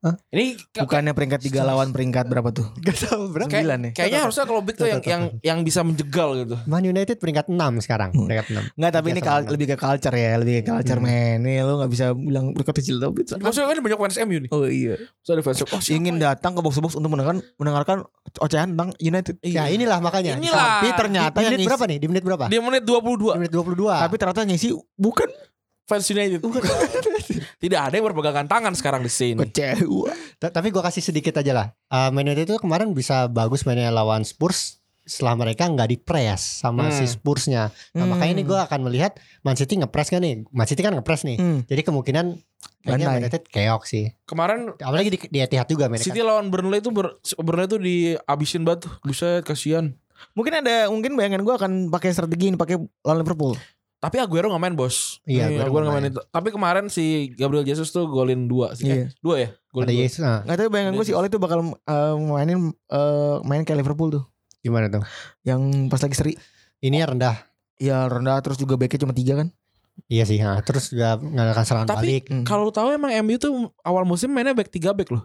Ini ke- Bukannya peringkat tiga lawan peringkat berapa tuh? Gak tau berapa. Kayak- Sembilan ya? kayaknya harusnya kalau big tuh yang yang yang bisa menjegal gitu. Man United peringkat 6 sekarang, Hmm. peringkat 6. Enggak tapi ini Tiga kal- sama. lebih ke culture ya Lebih ke culture Hmm. men Ini lo gak bisa bilang peringkat kecil tapi Maksudnya kan banyak fans MU nih. Oh iya Terus ada fans oh, siapa Ingin ya? datang ke box-box untuk mendengarkan Mendengarkan ocehan tentang United Ya Iya. inilah makanya. Inilah. Tapi ternyata Ternyata di yang menit ngisi berapa nih? Di menit berapa? di menit Di 22 menit 22. Tapi ternyata yang ngisi Bukan fans United. [LAUGHS] Tidak ada yang berpegangan tangan sekarang di sini. Kecewa Ta- Tapi gua kasih sedikit aja lah. Eh, Man United itu kemarin bisa bagus mainnya lawan Spurs setelah mereka nggak dipres sama Hmm. si Spursnya. Nah, Hmm. makanya ini gua akan melihat Man City ngepres gak nih? Man City kan ngepres nih. Hmm. Jadi kemungkinan kayaknya Bantai. Man United keok sih. Kemarin Apalagi di, di Etihad juga kan. mereka. City lawan Burnley tuh ber, Burnley tuh dihabisin banget tuh. Buset kasihan. Mungkin ada Mungkin bayangan gue akan pakai strategi ini Pakai lawan Liverpool Tapi Aguero gak main bos. Iya, Nih, Aguero Aguero, nggak gak main. itu. Tapi kemarin si Gabriel Jesus tuh golin dua sih. Eh, Iya dua ya? Golin Ada dua. Yesus. Nah, Gak tau bayangan Iya. gue si Oleh tuh bakal eh, Mainin eh, Main kayak Liverpool tuh gimana tuh? Yang pas lagi seri Ini ya rendah. Ya rendah terus juga backnya cuma tiga kan Iya sih. nah, terus juga ngadakan serangan Tapi- balik. Hmm. Kalau lu tahu emang MU tuh awal musim mainnya back 3 back loh.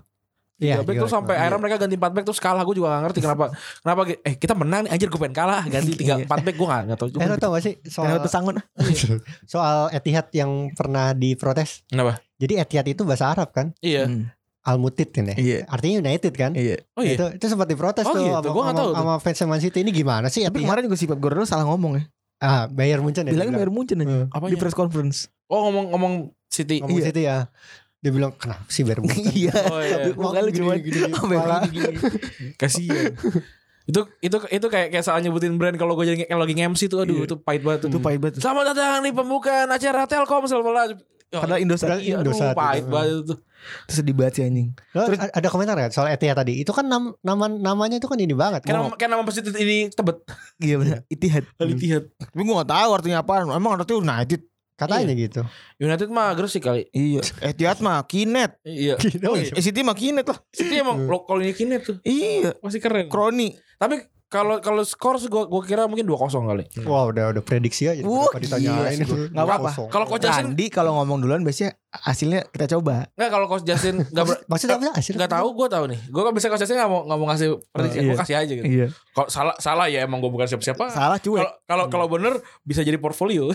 Iya, 3 back tiga terus back. sampai akhirnya mereka ganti 4 back terus kalah. Gue juga gak ngerti kenapa. kenapa ge- eh kita menang nih anjir gue pengen kalah ganti [LAUGHS] 3 4 back gue gak, gak tau Eh juga. lo tau gak sih Yang soal lewat pesangon [LAUGHS] soal Etihad yang pernah diprotes? Kenapa? Jadi Etihad itu bahasa Arab kan? Iya. Hmm. Almutid kan ya? Iya Artinya United kan? Iya Oh iya. Itu itu sempat diprotes Oh tuh gitu, sama, gua nggak sama- tahu tuh. sama fans Man City ini gimana sih? Tapi Etihad? kemarin juga si Pep Guardiola salah ngomong ya. ah, Bayern Munchen ya. Bilangnya dibilang. Bayern Munchen aja Hmm. di Iya, Apanya? press conference. Oh ngomong-ngomong City. Ngomong Iya. City ya. Dia bilang kenapa sih Bermuda? [LAUGHS] Iya. Oh iya. Muka lu cuman kamera. Kasihan. [LAUGHS] itu itu itu kayak kayak salah nyebutin brand kalau gue jadi kalau lagi MC tuh Iya. aduh itu pahit banget Itu tuh. pahit banget. Selamat datang di pembukaan acara Telkomsel malah. Ya, Padahal Indosat Padahal- iya, aduh, Indosat itu. pahit banget itu. Itu sedih banget sih anjing. Lo a- ada komentar gak soal Etia tadi? Itu kan nam- nama namanya itu kan ini banget. Kan nama, Ngok. kan nama masjid ini Tebet. Iya benar. Itihad. Al-Ittihad. Tapi gue gak tahu artinya apa. Emang artinya United. katanya gitu. United mah Gresik kali. Iya. Etihad mah kinet. Iya. Gitu. Eh, City mah kinet lah. Itu emang lokal ini kini tuh. Iya. Masih keren. Kroni. Tapi kalau kalau skor sih gua gua kira mungkin 2-0 kali. Wah udah udah prediksi aja. Wah, Kenapa ditanyain? gila sih. Nggak apa-apa. Kosong. Kalau Coach Justin Randi kalau ngomong duluan biasanya hasilnya kita coba. enggak kalau Coach Justin enggak [LAUGHS] ber- Maksudnya apa sih? enggak tahu gua tahu nih. Gua kan bisa Coach Justin enggak mau enggak mau ngasih prediksi, Oh, iya. gua kasih aja gitu. Iya. Kalau salah salah ya emang gua bukan siapa-siapa. Salah Iya. cuek. Kalau kalau kalau bener bisa jadi portfolio.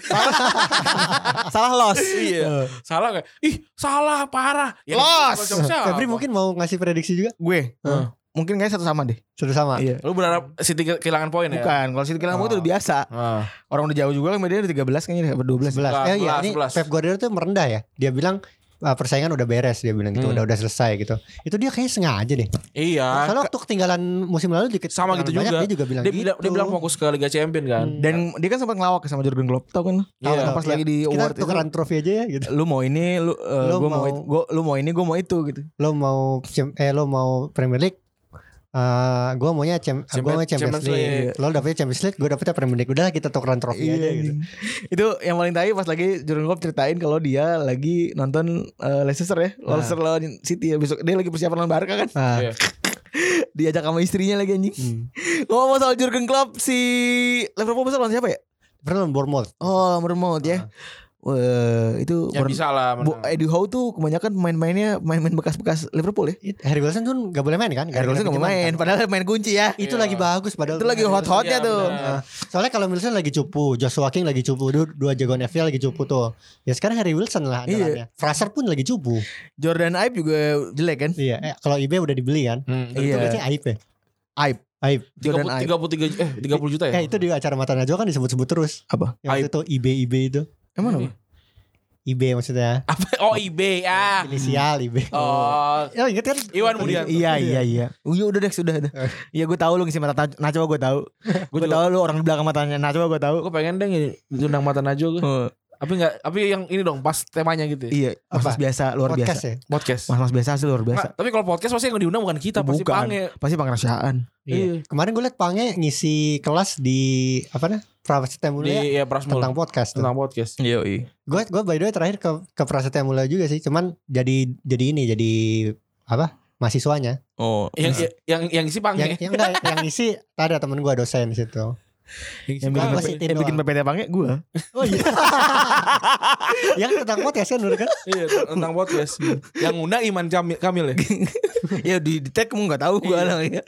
[LAUGHS] Salah los. Eh, iya. salah kayak ih salah parah. Ya, Los. bukan siapa-siapa. Febri mungkin mau ngasih prediksi juga? Gue. Eh, Heeh. Mungkin kayak satu sama deh. Sudah sama. Iya. lu berharap City ke- kehilangan poin ya? Bukan, kalau City Kilang Oh. itu udah biasa. Ah. Orang udah jauh juga kan dia udah 13 kayaknya dapat 12. 11. Eh, iya, ini 11. Pep Guardiola tuh merendah ya. Dia bilang "Ah, persaingan udah beres dia bilang gitu Hmm. udah udah selesai gitu itu dia kayaknya sengaja deh Iya. soalnya waktu ketinggalan musim lalu dikit Sama gitu ketinggalan juga. dia juga bilang Dia gitu. bilang dia bilang fokus ke Liga Champion kan. Hmm. Dan dia kan sempat ngelawak sama Jurgen Klopp tau kan? Tahu, Iya. tahu. pas Iya. lagi di kita award itu. tukeran trofi aja ya gitu Lu mau ini, lu, eh, Lu gua mau, mau- itu, gua, lu mau ini, gue mau itu gitu. lo mau cem- eh lo mau Premier League eh gue maunya cem, Champion- gue maunya Champions, Champions League. Lo dapetnya Champions League, gue dapetnya Premier League. Udah kita tukeran trofi Iya, aja gitu. anjing. Itu yang paling tai pas lagi Jurgen Klopp ceritain kalau dia lagi nonton eh, Leicester ya, Ah. Leicester lawan City ya besok. Dia lagi persiapan lawan Barca kan. [LAUGHS] Ah, Iya. Diajak sama istrinya lagi anjing. [LAUGHS] hmm. Ngomong soal Jurgen Klopp si Liverpool besok lawan siapa ya? Pernah lawan Bournemouth. Oh, Mermot ya. Wah, itu Ya Bourne- bisa lah Bo, menang. Eddie Howe tuh kebanyakan pemain-mainnya pemain-pemain bekas-bekas Liverpool ya. It- Harry Wilson tuh gak boleh main kan? Harry Wilson nggak mau Pinjaman main, kan? padahal main kunci ya. Itu Iya. lagi bagus padahal. Itu lagi Harry Wilson. hot-hotnya Iya, tuh. benar. Nah, soalnya kalau Wilson lagi cupu, Joshua King lagi cupu, dua, dua jagoan FPL lagi cupu tuh. Ya sekarang Harry Wilson lah Iya. andalannya. Fraser pun lagi cupu. Jordan Aib juga jelek kan? Iya, eh, kalau eBay udah dibeli kan. Hmm, Itu Iya. kayaknya aib ya. Aib. Aib. Jordan Aib. 33 eh 30 juta ya? Eh itu di acara Mata Najwa kan disebut-sebut terus. Apa? Yang waktu itu eBay eBay itu. Emang apa? eBay maksudnya. Apa? Oh eBay ah. Inisial eBay. Oh. Ya inget kan? Iwan Budianto. gitu. Iya iya iya. Oh, iya udah deh sudah udah. Eh. Iya gue tahu lu ngisi mata Taj- Najwa gue [LAUGHS] tahu. Gue Gue tahu lu orang di belakang matanya Najwa gue tahu. Gue pengen deh diundang mata Najwa gue. Oh, Tapi enggak tapi yang ini dong pas temanya gitu. ya. iya, mas Apa? biasa luar Podcast biasa. ya. Podcast. Mas mas biasa sih luar biasa. Nggak, tapi kalau podcast pasti yang diundang bukan kita, pasti Bukan. Pange. Pasti pengrasiaan. Iya. Kemarin gue liat Pange ngisi kelas di apa nih? Prasetya Di Mulia ya Prasmul tentang tentang, podcast. podcast. Iya iya. Gue gue by the way terakhir ke ke Prasetya Mulia juga sih, cuman jadi jadi ini jadi apa? mahasiswanya. Oh. Yang yang yang isi Pange. Yang yang enggak, yang ngisi ada temen gue dosen di situ. Yang bikin, Gua PP sitin yang bikin doang. PPT pange [LAUGHS] gue. Oh iya. yang tentang podcast kan Nur kan? Iya, tentang podcast. yang ngundang Iman Jamil, Kamil ya. ya di, di tag kamu nggak tahu gue Iya. anaknya.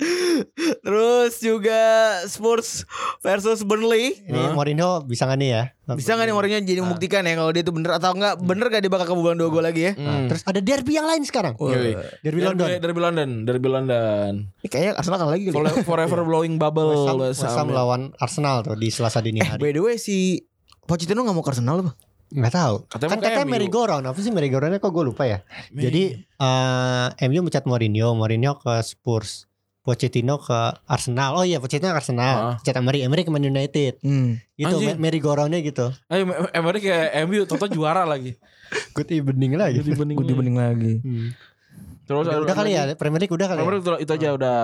Terus juga Spurs versus Burnley. Ini Hah? Mourinho bisa gak nih ya? Bisa nggak nih orangnya Ah. jadi membuktikan ya kalau dia itu bener atau enggak Hmm. bener gak dia bakal kebobolan dua gol lagi ya? Nah, Hmm. Terus ada derby yang lain sekarang. Wah, Yoi. Derby Derby London. Derby London, Derby London. Ini kayaknya Arsenal kalah lagi kali. Forever, forever blowing bubble. West Ham- West West Ham Ham. ya. lawan Arsenal tuh di Selasa dini Eh hari. by the way si Pochettino gak mau ke Arsenal apa? Nggak tahu. Katanya Kan mau ke katanya MU. merry go round apa sih merry go roundnya kok gue lupa ya. Jadi eh MU mencat Mourinho, Mourinho ke Spurs, Pochettino ke Arsenal. Oh iya Pochettino ke Arsenal, Ah. mencat Emery, Emery ke Man United. Hmm. Gitu Anjing. merry go roundnya gitu. Ayo, Em- Emery ke MU, Toto juara lagi. Good evening gitu. lagi. Good evening. Gue dibanding lagi. Hmm. Terus Udah, ada- udah kali ya Premier League udah kali. Emery Ya? itu, itu aja udah.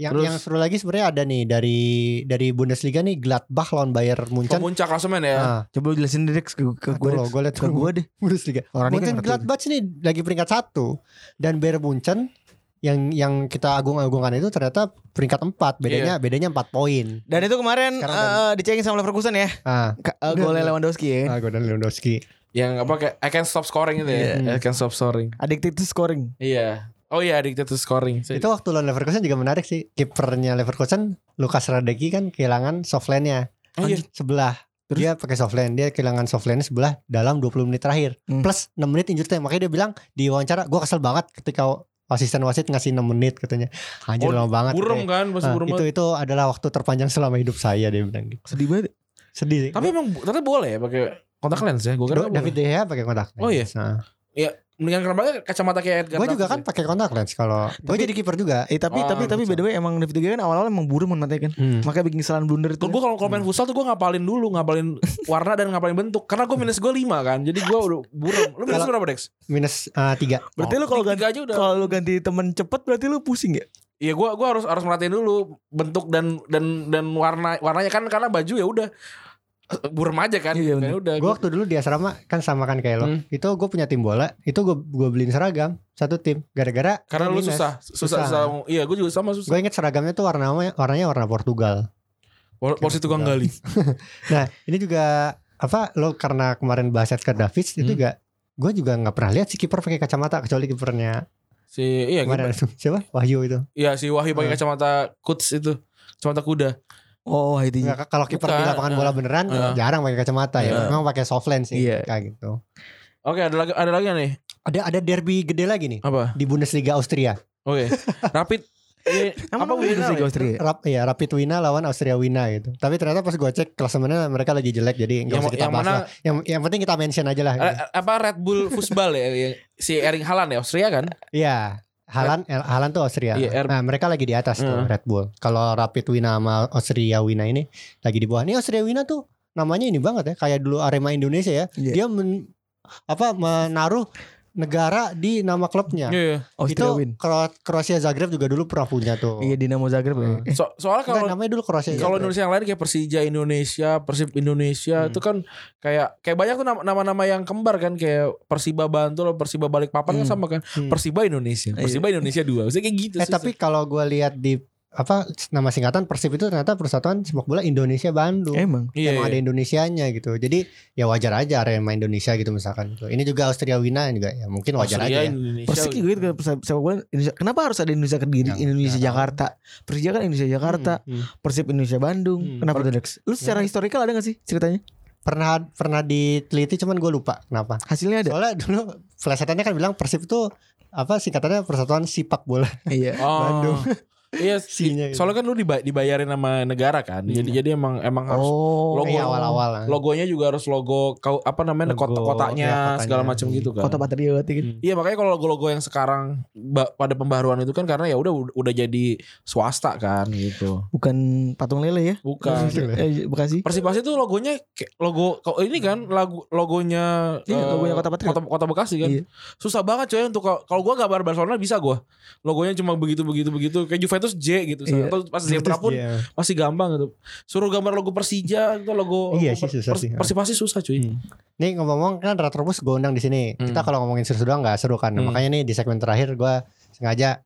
Yang terus- yang seru lagi sebenarnya ada nih dari dari Bundesliga nih Gladbach lawan Bayern Ke Munchen. puncak klasemen ya. Nah, Coba lu jelasin deh Dex, ke, ke gue gue Dex. gue liat Ke gue deh. Bundesliga. Orang ini kan Munchen ngerti. Gladbach ini lagi peringkat satu dan Bayern Munchen yang yang kita agung-agungkan itu ternyata peringkat empat bedanya bedanya empat poin. Dan itu kemarin Sekarang eh, dicengin sama Leverkusen ya. Ah, Ka- eh, Golnya Udah. Lewandowski ah ya. dan Lewandowski. Yang apa kayak I can stop scoring itu ya. Iya. I can stop scoring. Addicted to scoring. Iya. Oh iya, addicted to scoring. Itu waktu lawan Leverkusen juga menarik sih. Kipernya Leverkusen Lukas Radeki kan kehilangan softline-nya Oh, iya. sebelah. Terus? Dia pakai softline, dia kehilangan softline sebelah dalam 20 menit terakhir. Hmm. Plus 6 menit injury time. Makanya dia bilang di wawancara, gua kesel banget ketika asisten wasit ngasih 6 menit katanya. Anjir Oh, lama banget. katanya. Burem kan, pasti Ah, burem itu banget. itu adalah waktu terpanjang selama hidup saya dia bilang gitu. Sedih banget. Sedih. sih. Tapi emang ternyata boleh ya pakai kontak lens ya. Gue kira Do- David De Gea pakai kontak. Oh, iya? Nah, Ya, mendingan Krambaga kacamata kayak Edgar. Gue juga kan Davis pakai kontak lens kalau gue Tapi- jadi kiper juga. Eh Oh, tapi tapi tapi by gitu. the way emang David De Gea kan awal-awal emang buruk mau matanya kan. Hmm. Makanya bikin kesalahan blunder ya. itu. Gue kalau kalau main futsal tuh gue ngapalin dulu, ngapalin [LAUGHS] warna dan ngapalin bentuk. Karena gue minus gue 5 kan, jadi gue udah buram. Lu minus Kalau- berapa Dex? Minus eh, tiga. Berarti lu kalau ganti Tiga aja udah. kalau lu ganti temen cepet berarti lu pusing ya? Iya gua gua harus harus merhatiin dulu bentuk dan dan dan warna warnanya kan karena baju ya udah eh, buram aja kan. Iya, Kayak bener. udah. Gue waktu dulu di asrama kan sama kan kayak lo. Hmm. Itu gue punya tim bola. Itu gue gue beliin seragam satu tim. Gara-gara karena lu minus. susah, Susah. susah, susah. Iya, gue juga sama susah. Gue inget seragamnya tuh warnanya warnanya warna Portugal. Pol- Polisi tukang gali. Nah ini juga apa lo karena kemarin bahas Edgar Davids itu Hmm. juga gue juga nggak pernah lihat si kiper pakai kacamata kecuali kipernya Si iya, kemarin gimana? itu [LAUGHS] siapa Wahyu itu. Iya, si Wahyu Eh. pakai kacamata kuts itu. Kacamata kuda. Oh, itu. Nggak, Iya, kalau kiper di Bukan, lapangan bola beneran eh. jarang pakai kacamata ya. Iya. Memang pakai soft lens sih Iya. kayak gitu. Oke, ada lagi ada lagi nggak nih. Ada ada derby gede lagi nih Apa? di Bundesliga Austria. [LAUGHS] Oke. Rapid Iya, Emang apa apa Wina? sih Austria? Rap, ya Rapid Wina lawan Austria Wina gitu. Tapi ternyata pas gue cek klasemennya mereka lagi jelek jadi nggak Yang, usah kita yang bahas mana lah. Yang yang penting kita mention aja lah. eh, apa Red Bull Fusbal ya yang- si Erling Haaland ya Austria kan? Iya. Halan Halan tuh Austria. Iya, R- nah, mereka lagi di atas tuh Hmm. Red Bull. Kalau Rapid Wina sama Austria Wina ini lagi di bawah. Ini Austria Wina tuh namanya ini banget ya kayak dulu Arema Indonesia ya. Iya. Dia men, apa menaruh negara di nama klubnya. Iya. iya. Austria itu win. Kro- Kroasia Zagreb juga dulu pernah punya tuh. Iya Dinamo Zagreb. ya. Hmm. Eh, So, soalnya Enggak, kalau namanya dulu Kroasia. Kalau Zagreb. Indonesia yang lain kayak Persija Indonesia, Persib Hmm. Indonesia itu kan kayak kayak banyak tuh nama- nama-nama yang kembar kan kayak Persiba Bantul, Persiba Balikpapan kan Hmm. sama kan. Hmm. Persiba Indonesia, Persiba Indonesia dua. Maksudnya kayak gitu eh susah. tapi kalau gua lihat di apa nama singkatan Persib itu ternyata Persatuan Sepak Bola Indonesia Bandung. Emang. iya, Emang iya. ada Indonesianya gitu. Jadi ya wajar aja Arema Indonesia gitu misalkan. gitu. Ini juga Austria Wina juga ya mungkin wajar Austria, aja. Ya. Indonesia. Persis kayak gitu kan, sepak sepak bola Indonesia. Kenapa harus ada Indonesia Kediri, Yang- Indonesia yang- Jakarta? Persija kan Indonesia Jakarta, Hmm, hmm. Persib Indonesia Bandung. Hmm. Kenapa tuh Dex? Lu secara historikal ada gak sih ceritanya? Pernah pernah diteliti cuman gue lupa kenapa. Hasilnya ada. Soalnya dulu pelesetannya kan bilang Persib itu apa singkatannya Persatuan Sepak Bola Iya. Oh. Bandung. Iya, Sinya gitu. soalnya kan lu diba- dibayarin sama negara kan. Jadi Iya. jadi emang emang harus [LAUGHS] Oh. Logo. Kayak Iya, awal-awal. lah. logonya juga harus logo kau apa namanya Logo, kota kotanya, ya, kotanya. segala macam gitu kan. Kota Patriot gitu. Hmm. Iya makanya kalau logo-logo yang sekarang ba- pada pembaruan itu kan karena ya udah udah jadi swasta kan gitu. Bukan patung lele ya? Bukan. Eh, Bekasi. Persipasi tuh logonya kayak logo kok ini kan lagu logonya Iya, eh, logonya Kota Patriot. Kota, Kota Bekasi kan. Iya. Susah banget coy untuk kalau gua gambar Barcelona bisa gua. Logonya cuma begitu begitu begitu kayak Juventus J gitu. Iya. Atau pas zebra pun Iya. masih gampang gitu. Suruh gambar logo Persija itu logo Iya logo sih, susah sih. Hmm. Persipasi susah cuy. Nih ngomong-ngomong kan Retrobus gue undang di sini. Hmm. Kita kalau ngomongin seru doang nggak seru kan. Hmm. Makanya nih di segmen terakhir gue sengaja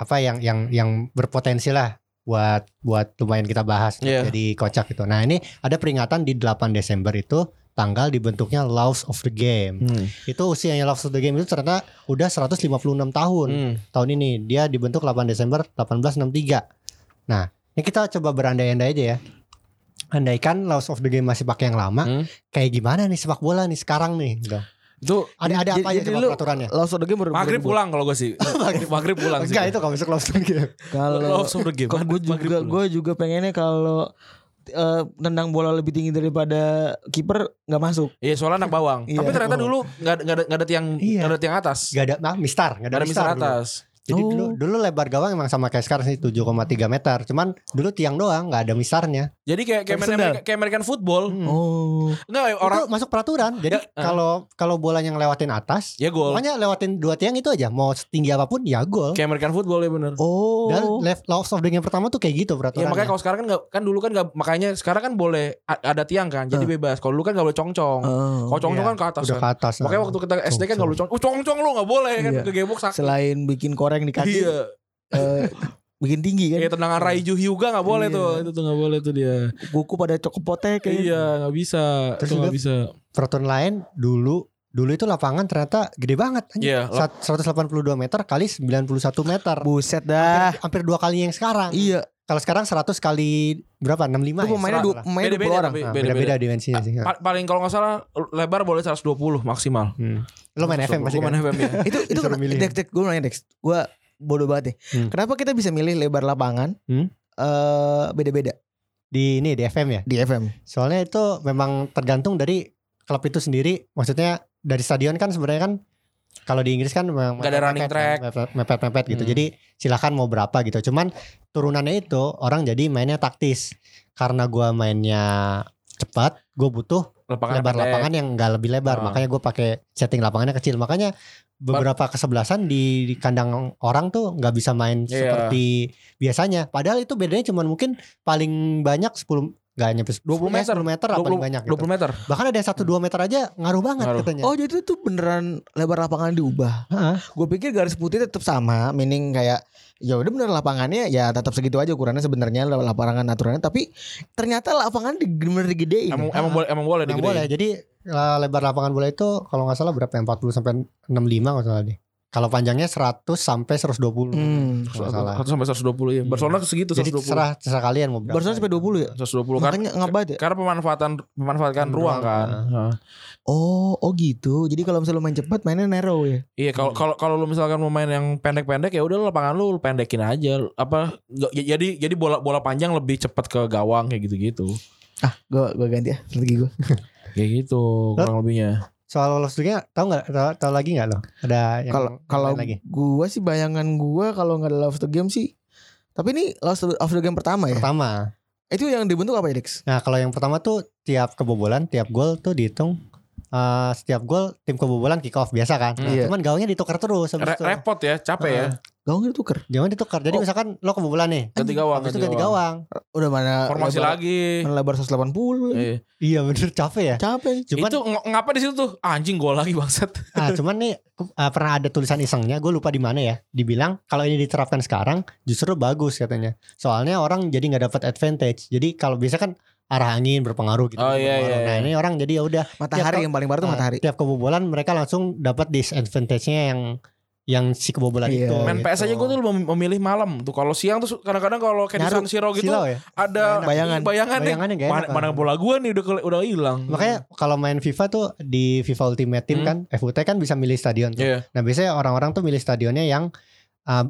apa yang yang yang berpotensi lah buat buat lumayan kita bahas buat Iya. jadi kocak gitu. Nah ini ada peringatan di 8 Desember itu tanggal dibentuknya Laws of the Game. Hmm. Itu usianya Laws of the Game itu ternyata udah 156 tahun Hmm. tahun ini. Dia dibentuk 8 Desember 1863. Nah ini kita coba berandai-andai aja ya. Andaikan Laws of the Game masih pakai yang lama, Hmm. kayak gimana nih sepak bola nih sekarang nih? Gitu. Itu Ada ada Jadi- apa aja jadi coba lu- Iya. peraturannya? Laos of the game baru maghrib baru- pulang kalau gua [LAUGHS] sih. maghrib, maghrib pulang sih. Enggak itu kalau masuk langsung gitu. Kalau [LAUGHS] Love of the game. gue Maghrib juga pulang. gue juga pengennya kalau eh, nendang bola lebih tinggi daripada kiper nggak masuk. Iya soalnya anak bawang. Iya, Tapi anak ternyata bawang. dulu nggak ada nggak ada nggak ada tiang Iya. nggak ada tiang atas. Gak ada nah, mistar, gak Nggak ada, ada misal mistar. dulu. atas. Jadi Oh. dulu dulu lebar gawang emang sama kayak sekarang sih 7,3 meter. Cuman dulu tiang doang nggak ada mistarnya. Jadi kayak kayak Tapi main sendal. Amerika- kayak American football. Hmm. Oh. Enggak Itu orang masuk peraturan. Jadi Iya. kalau kalau bolanya ngelewatin atas, ya gol. pokoknya lewatin dua tiang itu aja. Mau setinggi apapun ya gol. Kayak American football ya bener. Oh. Dan left laws of the game pertama tuh kayak gitu Ya peraturannya. makanya kalau sekarang kan nggak kan dulu kan nggak makanya sekarang kan boleh a- ada tiang kan jadi bebas. Kalau dulu kan nggak boleh congcong. Oh. Kalau congcong Iya, kan ke atas. udah Kan. ke atas. Makanya waktu kita SD kan nggak boleh congcong. Oh congcong lu nggak boleh kan Iya. kegebok sakit. Selain bikin koreng di kaki, Iya. eh, bikin tinggi kan. Kayak tendangan iya. Raiju Hyuga nggak boleh Iya. tuh. Itu tuh nggak boleh tuh dia. Kuku pada kan? cokopote kayak. Iya nggak bisa. gitu. Terus itu nggak juga- bisa. peraturan lain dulu dulu itu lapangan ternyata gede banget. anjing. Iya. lap- Sat- 182 meter kali 91 meter. Buset dah. hampir dua kali yang Nah, sekarang. Iya. Kalau sekarang 100 kali berapa? 65 Itu ya? pemainnya Serang dua, lah. pemainnya dua iya. Beda-beda orang. tapi Nah, beda-beda. Ah, beda-beda dimensinya sih. Pa- Paling kalau nggak salah lebar boleh 120 maksimal. Hmm. Lo main FM pasti Gua kan? main [LAUGHS] FM ya. itu itu Disuruh kena- milih. Dex, Dex, gue nanya Dex. Gue bodoh banget deh. Hmm. Kenapa kita bisa milih lebar lapangan? Hmm. eh, beda-beda Di ini di FM ya. di FM. Soalnya itu memang tergantung dari klub itu sendiri. Maksudnya dari stadion kan sebenarnya kan Kalau di Inggris kan memang Nggak ada running track. mepet mepet gitu. Hmm. Jadi silahkan mau berapa gitu. Cuman turunannya itu orang jadi mainnya taktis. Karena gua mainnya cepat, gue butuh Lapangan lebar pendek. lapangan yang nggak lebih lebar. Ah. Makanya gue pakai setting lapangannya kecil. Makanya beberapa kesebelasan di, di kandang orang tuh nggak bisa main Iya. seperti biasanya. Padahal itu bedanya cuman mungkin paling banyak 10 nggak nyampe 20 meter. 10 meter apa 20, paling banyak gitu. 20 meter. Bahkan ada yang 1 2 meter aja ngaruh banget Hmm. Ngaruh. iya, katanya. Oh jadi itu beneran lebar lapangan diubah. Ya. Heeh. Gue pikir garis putih tetap sama, meaning kayak ya udah bener lapangannya ya tetap segitu aja ukurannya sebenarnya lapangan aturannya tapi ternyata lapangan di, bener digedein. Emang emang boleh emang boleh Nah, digedein. Iya. boleh. Jadi eh, lebar lapangan bola itu kalau nggak salah berapa ya? 40 sampai 65 nggak salah deh. Kalau panjangnya 100 sampai 120. Hmm. Kalau nggak salah. 1 sampai 120 ya. Iya. Barcelona segitu Jadi 120. terserah terserah kalian mau berapa. gitu. Barcelona sampai 20 ya? 120 gitu. kan. Makanya ngebat ya. Karena pemanfaatan memanfaatkan Hmm, ruang ruang, kan. Heeh. Oh, oh gitu. Jadi kalau misalnya lu main cepat mainnya narrow ya. Iya kalau Hmm. kalau kalau lu misalkan mau main yang pendek-pendek ya udah lu lapangan lu, lu pendekin aja. Apa nggak- ya- jadi jadi bola bola panjang lebih cepat ke gawang kayak gitu-gitu. Ah, gua gua ganti ya strategi gua. Kayak gitu kurang lebihnya. Soal lolos dunia tahu nggak tahu, tahu lagi nggak lo? Ada yang Kalau kalau eh. lain lagi. gua sih bayangan gua kalau nggak ada love the game sih. Tapi ini love the, of the game pertama ya. Pertama. Itu yang dibentuk apa ya, Dex? Nah, kalau yang pertama tuh tiap kebobolan, tiap gol tuh dihitung eh, setiap gol tim kebobolan kick off biasa kan. Nah, Iya. Cuman gawangnya ditukar terus habis Re- itu. repot ya, capek ya. Gaungnya tuker. Jangan ditukar. Jadi Oh. misalkan lo kebobolan nih, Ganti gawang, habis itu ganti ganti gawang. gawang. Udah mana Formasi lebar- lagi. Mana lebar 180. Iya. Iya bener capek ya. Capek. Cuman itu ng- ngapa di situ tuh? Anjing gol lagi bangsat. ah, cuman nih ah, pernah ada tulisan isengnya, gue lupa di mana ya. Dibilang kalau ini diterapkan sekarang justru bagus katanya. Soalnya orang jadi nggak dapat advantage. Jadi kalau biasa kan arah angin berpengaruh gitu. Oh, iya, berpengaruh. iya, Nah iya. ini orang jadi ya udah Matahari Tiap- yang paling baru tuh ah, matahari. tiap kebobolan mereka langsung dapat disadvantage-nya yang yang si kebobolan Iya. itu. Main gitu. PS aja gue tuh mem- memilih malam tuh. Kalau siang tuh su- kadang-kadang kalau kayak di Nyaru, San Siro gitu Silau ya. ada Nggak enak. Bayangan. bayangan nih. Bayangannya gak Mana, enak. ah. mana bola gue nih udah kele- udah hilang. Makanya kalau main FIFA tuh di FIFA Ultimate Team Hmm. kan FUT kan bisa milih stadion tuh. Iya. Nah biasanya orang-orang tuh milih stadionnya yang uh,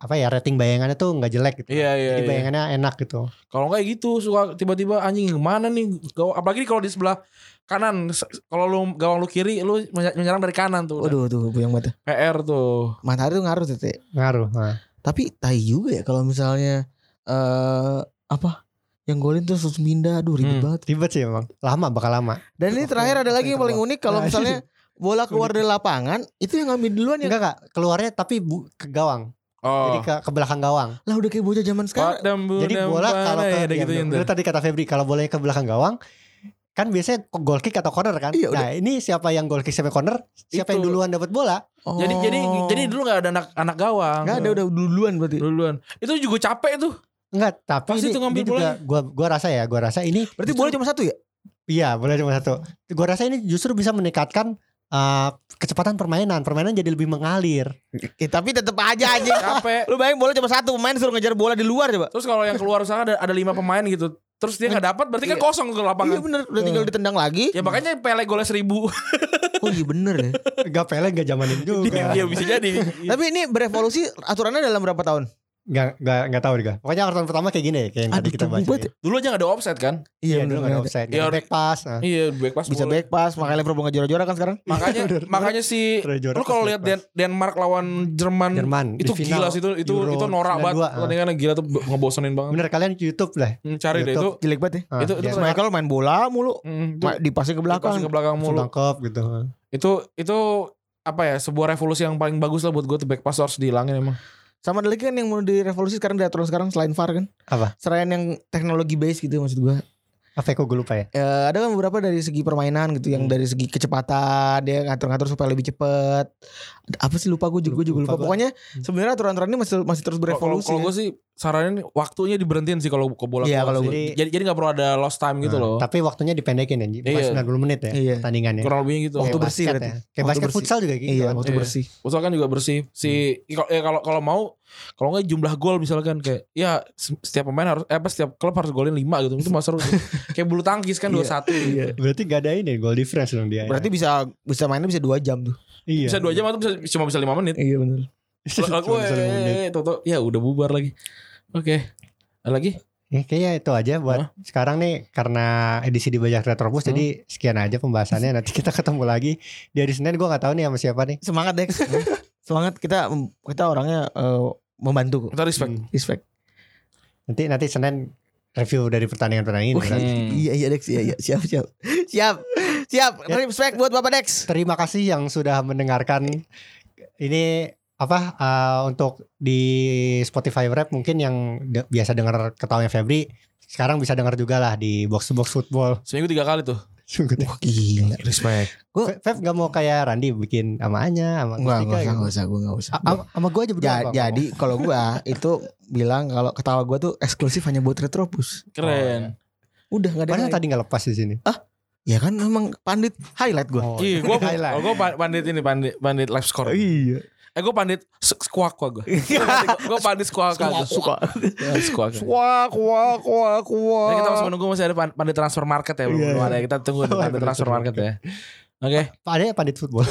apa ya rating bayangannya tuh nggak jelek gitu. Iya iya. Jadi iya. bayangannya enak gitu. Kalau nggak ya gitu suka tiba-tiba anjing kemana nih? Gaw- Apalagi kalau di sebelah kanan. Se- Kalau lu gawang lu kiri lu menya- menyerang dari kanan tuh. Waduh tuh puyeng banget. PR tuh. Matahari tuh ngaruh tete. Ngaruh. Nah, Tapi tai juga ya kalau misalnya eh apa? Yang golin tuh terus pindah, aduh ribet Hmm. banget. ribet sih emang. Lama bakal lama. Dan ini terakhir ada lagi yang paling unik kalau [LAUGHS] misalnya bola keluar dari lapangan, itu yang ngambil duluan ya. Enggak enggak. Keluarnya tapi bu- ke gawang. Jadi Iya. Oh. Hmm, ke, ke belakang gawang. Lah udah kayak bocah zaman sekarang. Padam, Jadi budam, bola kalau panai, ke ada ya, gitu bener- bener tadi kata Febri kalau bolanya ke belakang gawang kan biasanya goal kick atau corner kan. Iya, nah, ini siapa yang goal kick siapa yang corner, siapa yang Itu. duluan dapat bola. Jadi jadi jadi dulu nggak ada anak anak gawang. enggak Oh. ada udah duluan berarti. duluan. Itu juga capek tuh. Enggak, tapi Pasti ini, tuh ngambil ini juga gua gua rasa ya, gua rasa ini justru- Berarti bola cuma satu ya? iya, bola cuma satu. Gua rasa ini justru bisa meningkatkan uh, kecepatan permainan. Permainan jadi lebih mengalir. Eh, tapi tetap aja [LAUGHS] anjing. Capek. Lu bayangin bola cuma satu, pemain suruh ngejar bola di luar coba. Terus kalau yang keluar sana ada, ada lima pemain gitu. Terus dia nggak dapat berarti kan Iya. kosong ke lapangan. Iya bener, udah tinggal ditendang [LAUGHS] lagi. Ya makanya Pele golnya seribu. Oh iya bener ya. Enggak pele enggak [LAUGHS] zamanin juga. Iya bisa jadi. Tapi ini berevolusi aturannya dalam berapa tahun? Enggak enggak enggak tahu juga. Pokoknya karton pertama kayak gini kayak yang tadi Aduh, kita tubuh baca. banget ya. ya. Dulu aja nggak ada offset kan? Iya, bener, dulu enggak ada bener. offset, Iya, enggak ada back pass. Nah, Iya back pass. Bisa boleh. back pass, makanya Liverpool ngejora-jora kan sekarang. Makanya Bener. makanya si Terus juara lu kalau pas lihat back Dan- Denmark lawan Jerman, Jerman di itu final gila sih itu itu Euro itu norak banget. 92, ah. Pertandingannya gila [LAUGHS] tuh be- ngebosenin banget. Bener kalian YouTube lah. Hmm, Cari deh itu. YouTube. Jelek banget ya. Ah, Itu- itu biasa. Iya. Michael main bola mulu, Hmm, itu ma- dipasing ke dipasang belakang. ke belakang langsung mulu. tangkap gitu. Itu itu apa ya sebuah revolusi yang paling bagus lah buat gue tuh back pass harus dihilangin emang. Sama ada lagi kan yang mau direvolusi sekarang di aturan sekarang selain VAR kan. Apa? Selain yang teknologi base gitu maksud gua. Apa ya, kok gue lupa ya? Eh, ada kan beberapa dari segi permainan gitu yang Hmm. dari segi kecepatan dia ngatur-ngatur supaya lebih cepat apa sih lupa gue juga, gua juga lupa, Lupa gua. pokoknya sebenarnya aturan-aturan ini masih masih terus Hmm. Kalau berevolusi kan? kalau gue sih saranin waktunya diberhentiin sih kalau ke bola. Iya, keluar kalau sih. gua- jadi jadi nggak perlu ada lost time gitu Nah, loh. Tapi waktunya dipendekin anjir. Iya. Bukan 90 menit ya Iya. pertandingannya. Kurang lebihnya gitu. Waktu Kayak bersih basket berarti. ya. Kayak Waktu basket bersih. futsal juga gitu. iya kan. waktu Iya. bersih Futsal kan juga bersih. Si kalau ya kalau kalau mau kalau nggak jumlah gol misalkan kayak ya se- setiap pemain harus eh apa setiap klub harus golin 5 gitu. Itu mah seru. tuh. kayak bulu tangkis kan Iya. 21. Iya. Berarti gak ada ini goal difference dong dia. ya. berarti bisa bisa mainnya bisa dua jam tuh iya. Bisa 2 jam atau bisa cuma bisa 5 [LAUGHS] menit. iya benar Lalu Cuma bisa lima menit. toto ya udah bubar lagi. Oke. Ada lagi? Eh, kayaknya itu aja buat sekarang nih karena edisi di Bajak Retropus Hmm. jadi sekian aja pembahasannya nanti kita ketemu lagi di hari Senin gua nggak tahu nih sama siapa nih. Semangat Dex. [LAUGHS] Iya. Semangat kita kita orangnya eh, membantu kok. Kita respect. Hmm. Respect. Nanti nanti Senin review dari pertandingan-pertandingan ini. Wih, berarti. Hmm. Iya iya Dex, iya iya siap siap. Siap. Siap. Ya. Respect buat Bapak Dex. Terima kasih yang sudah mendengarkan ini apa eh, untuk di Spotify Rap mungkin yang de- biasa dengar ketawanya Febri sekarang bisa dengar juga lah di box to box football. Seminggu tiga kali tuh. Fe- Wah gila. Respect. Feb nggak mau kayak Randi bikin sama Anya sama Enggak, Gustika enggak usah, gitu. enggak usah, gue enggak usah. A- am- Sama gue aja berdua. Ja- nggak jadi kalau [LAUGHS] gua itu bilang kalau ketawa gua tuh eksklusif hanya buat Retropus. Keren. Udah apa-apa. enggak ada. Padahal yang lain. tadi nggak lepas di sini. Ya kan emang pandit highlight gua. Oh, Iya, gue highlight. gue pandit ini pandit pandit live Oh, score. Iya. Eh gue pandit squawk gue. Gue pandit squawk gue. Suka. Squawk. Wah, wah, wah, wah. Jadi kita masih menunggu masih ada pan- pandit transfer market ya belum Oh. Iya. belum ada. Kita tunggu ada Oh, pandit bener, transfer bener. market ya. [LAUGHS] Oke. Padahal pandit football.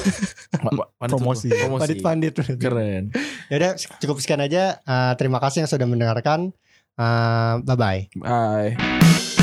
Ma- pandit Promosi. football. Pandit Promosi. pandit. Keren. Yaudah cukup Ah, sekian aja. Eh, terima kasih yang sudah mendengarkan. Eh, bye bye. Bye.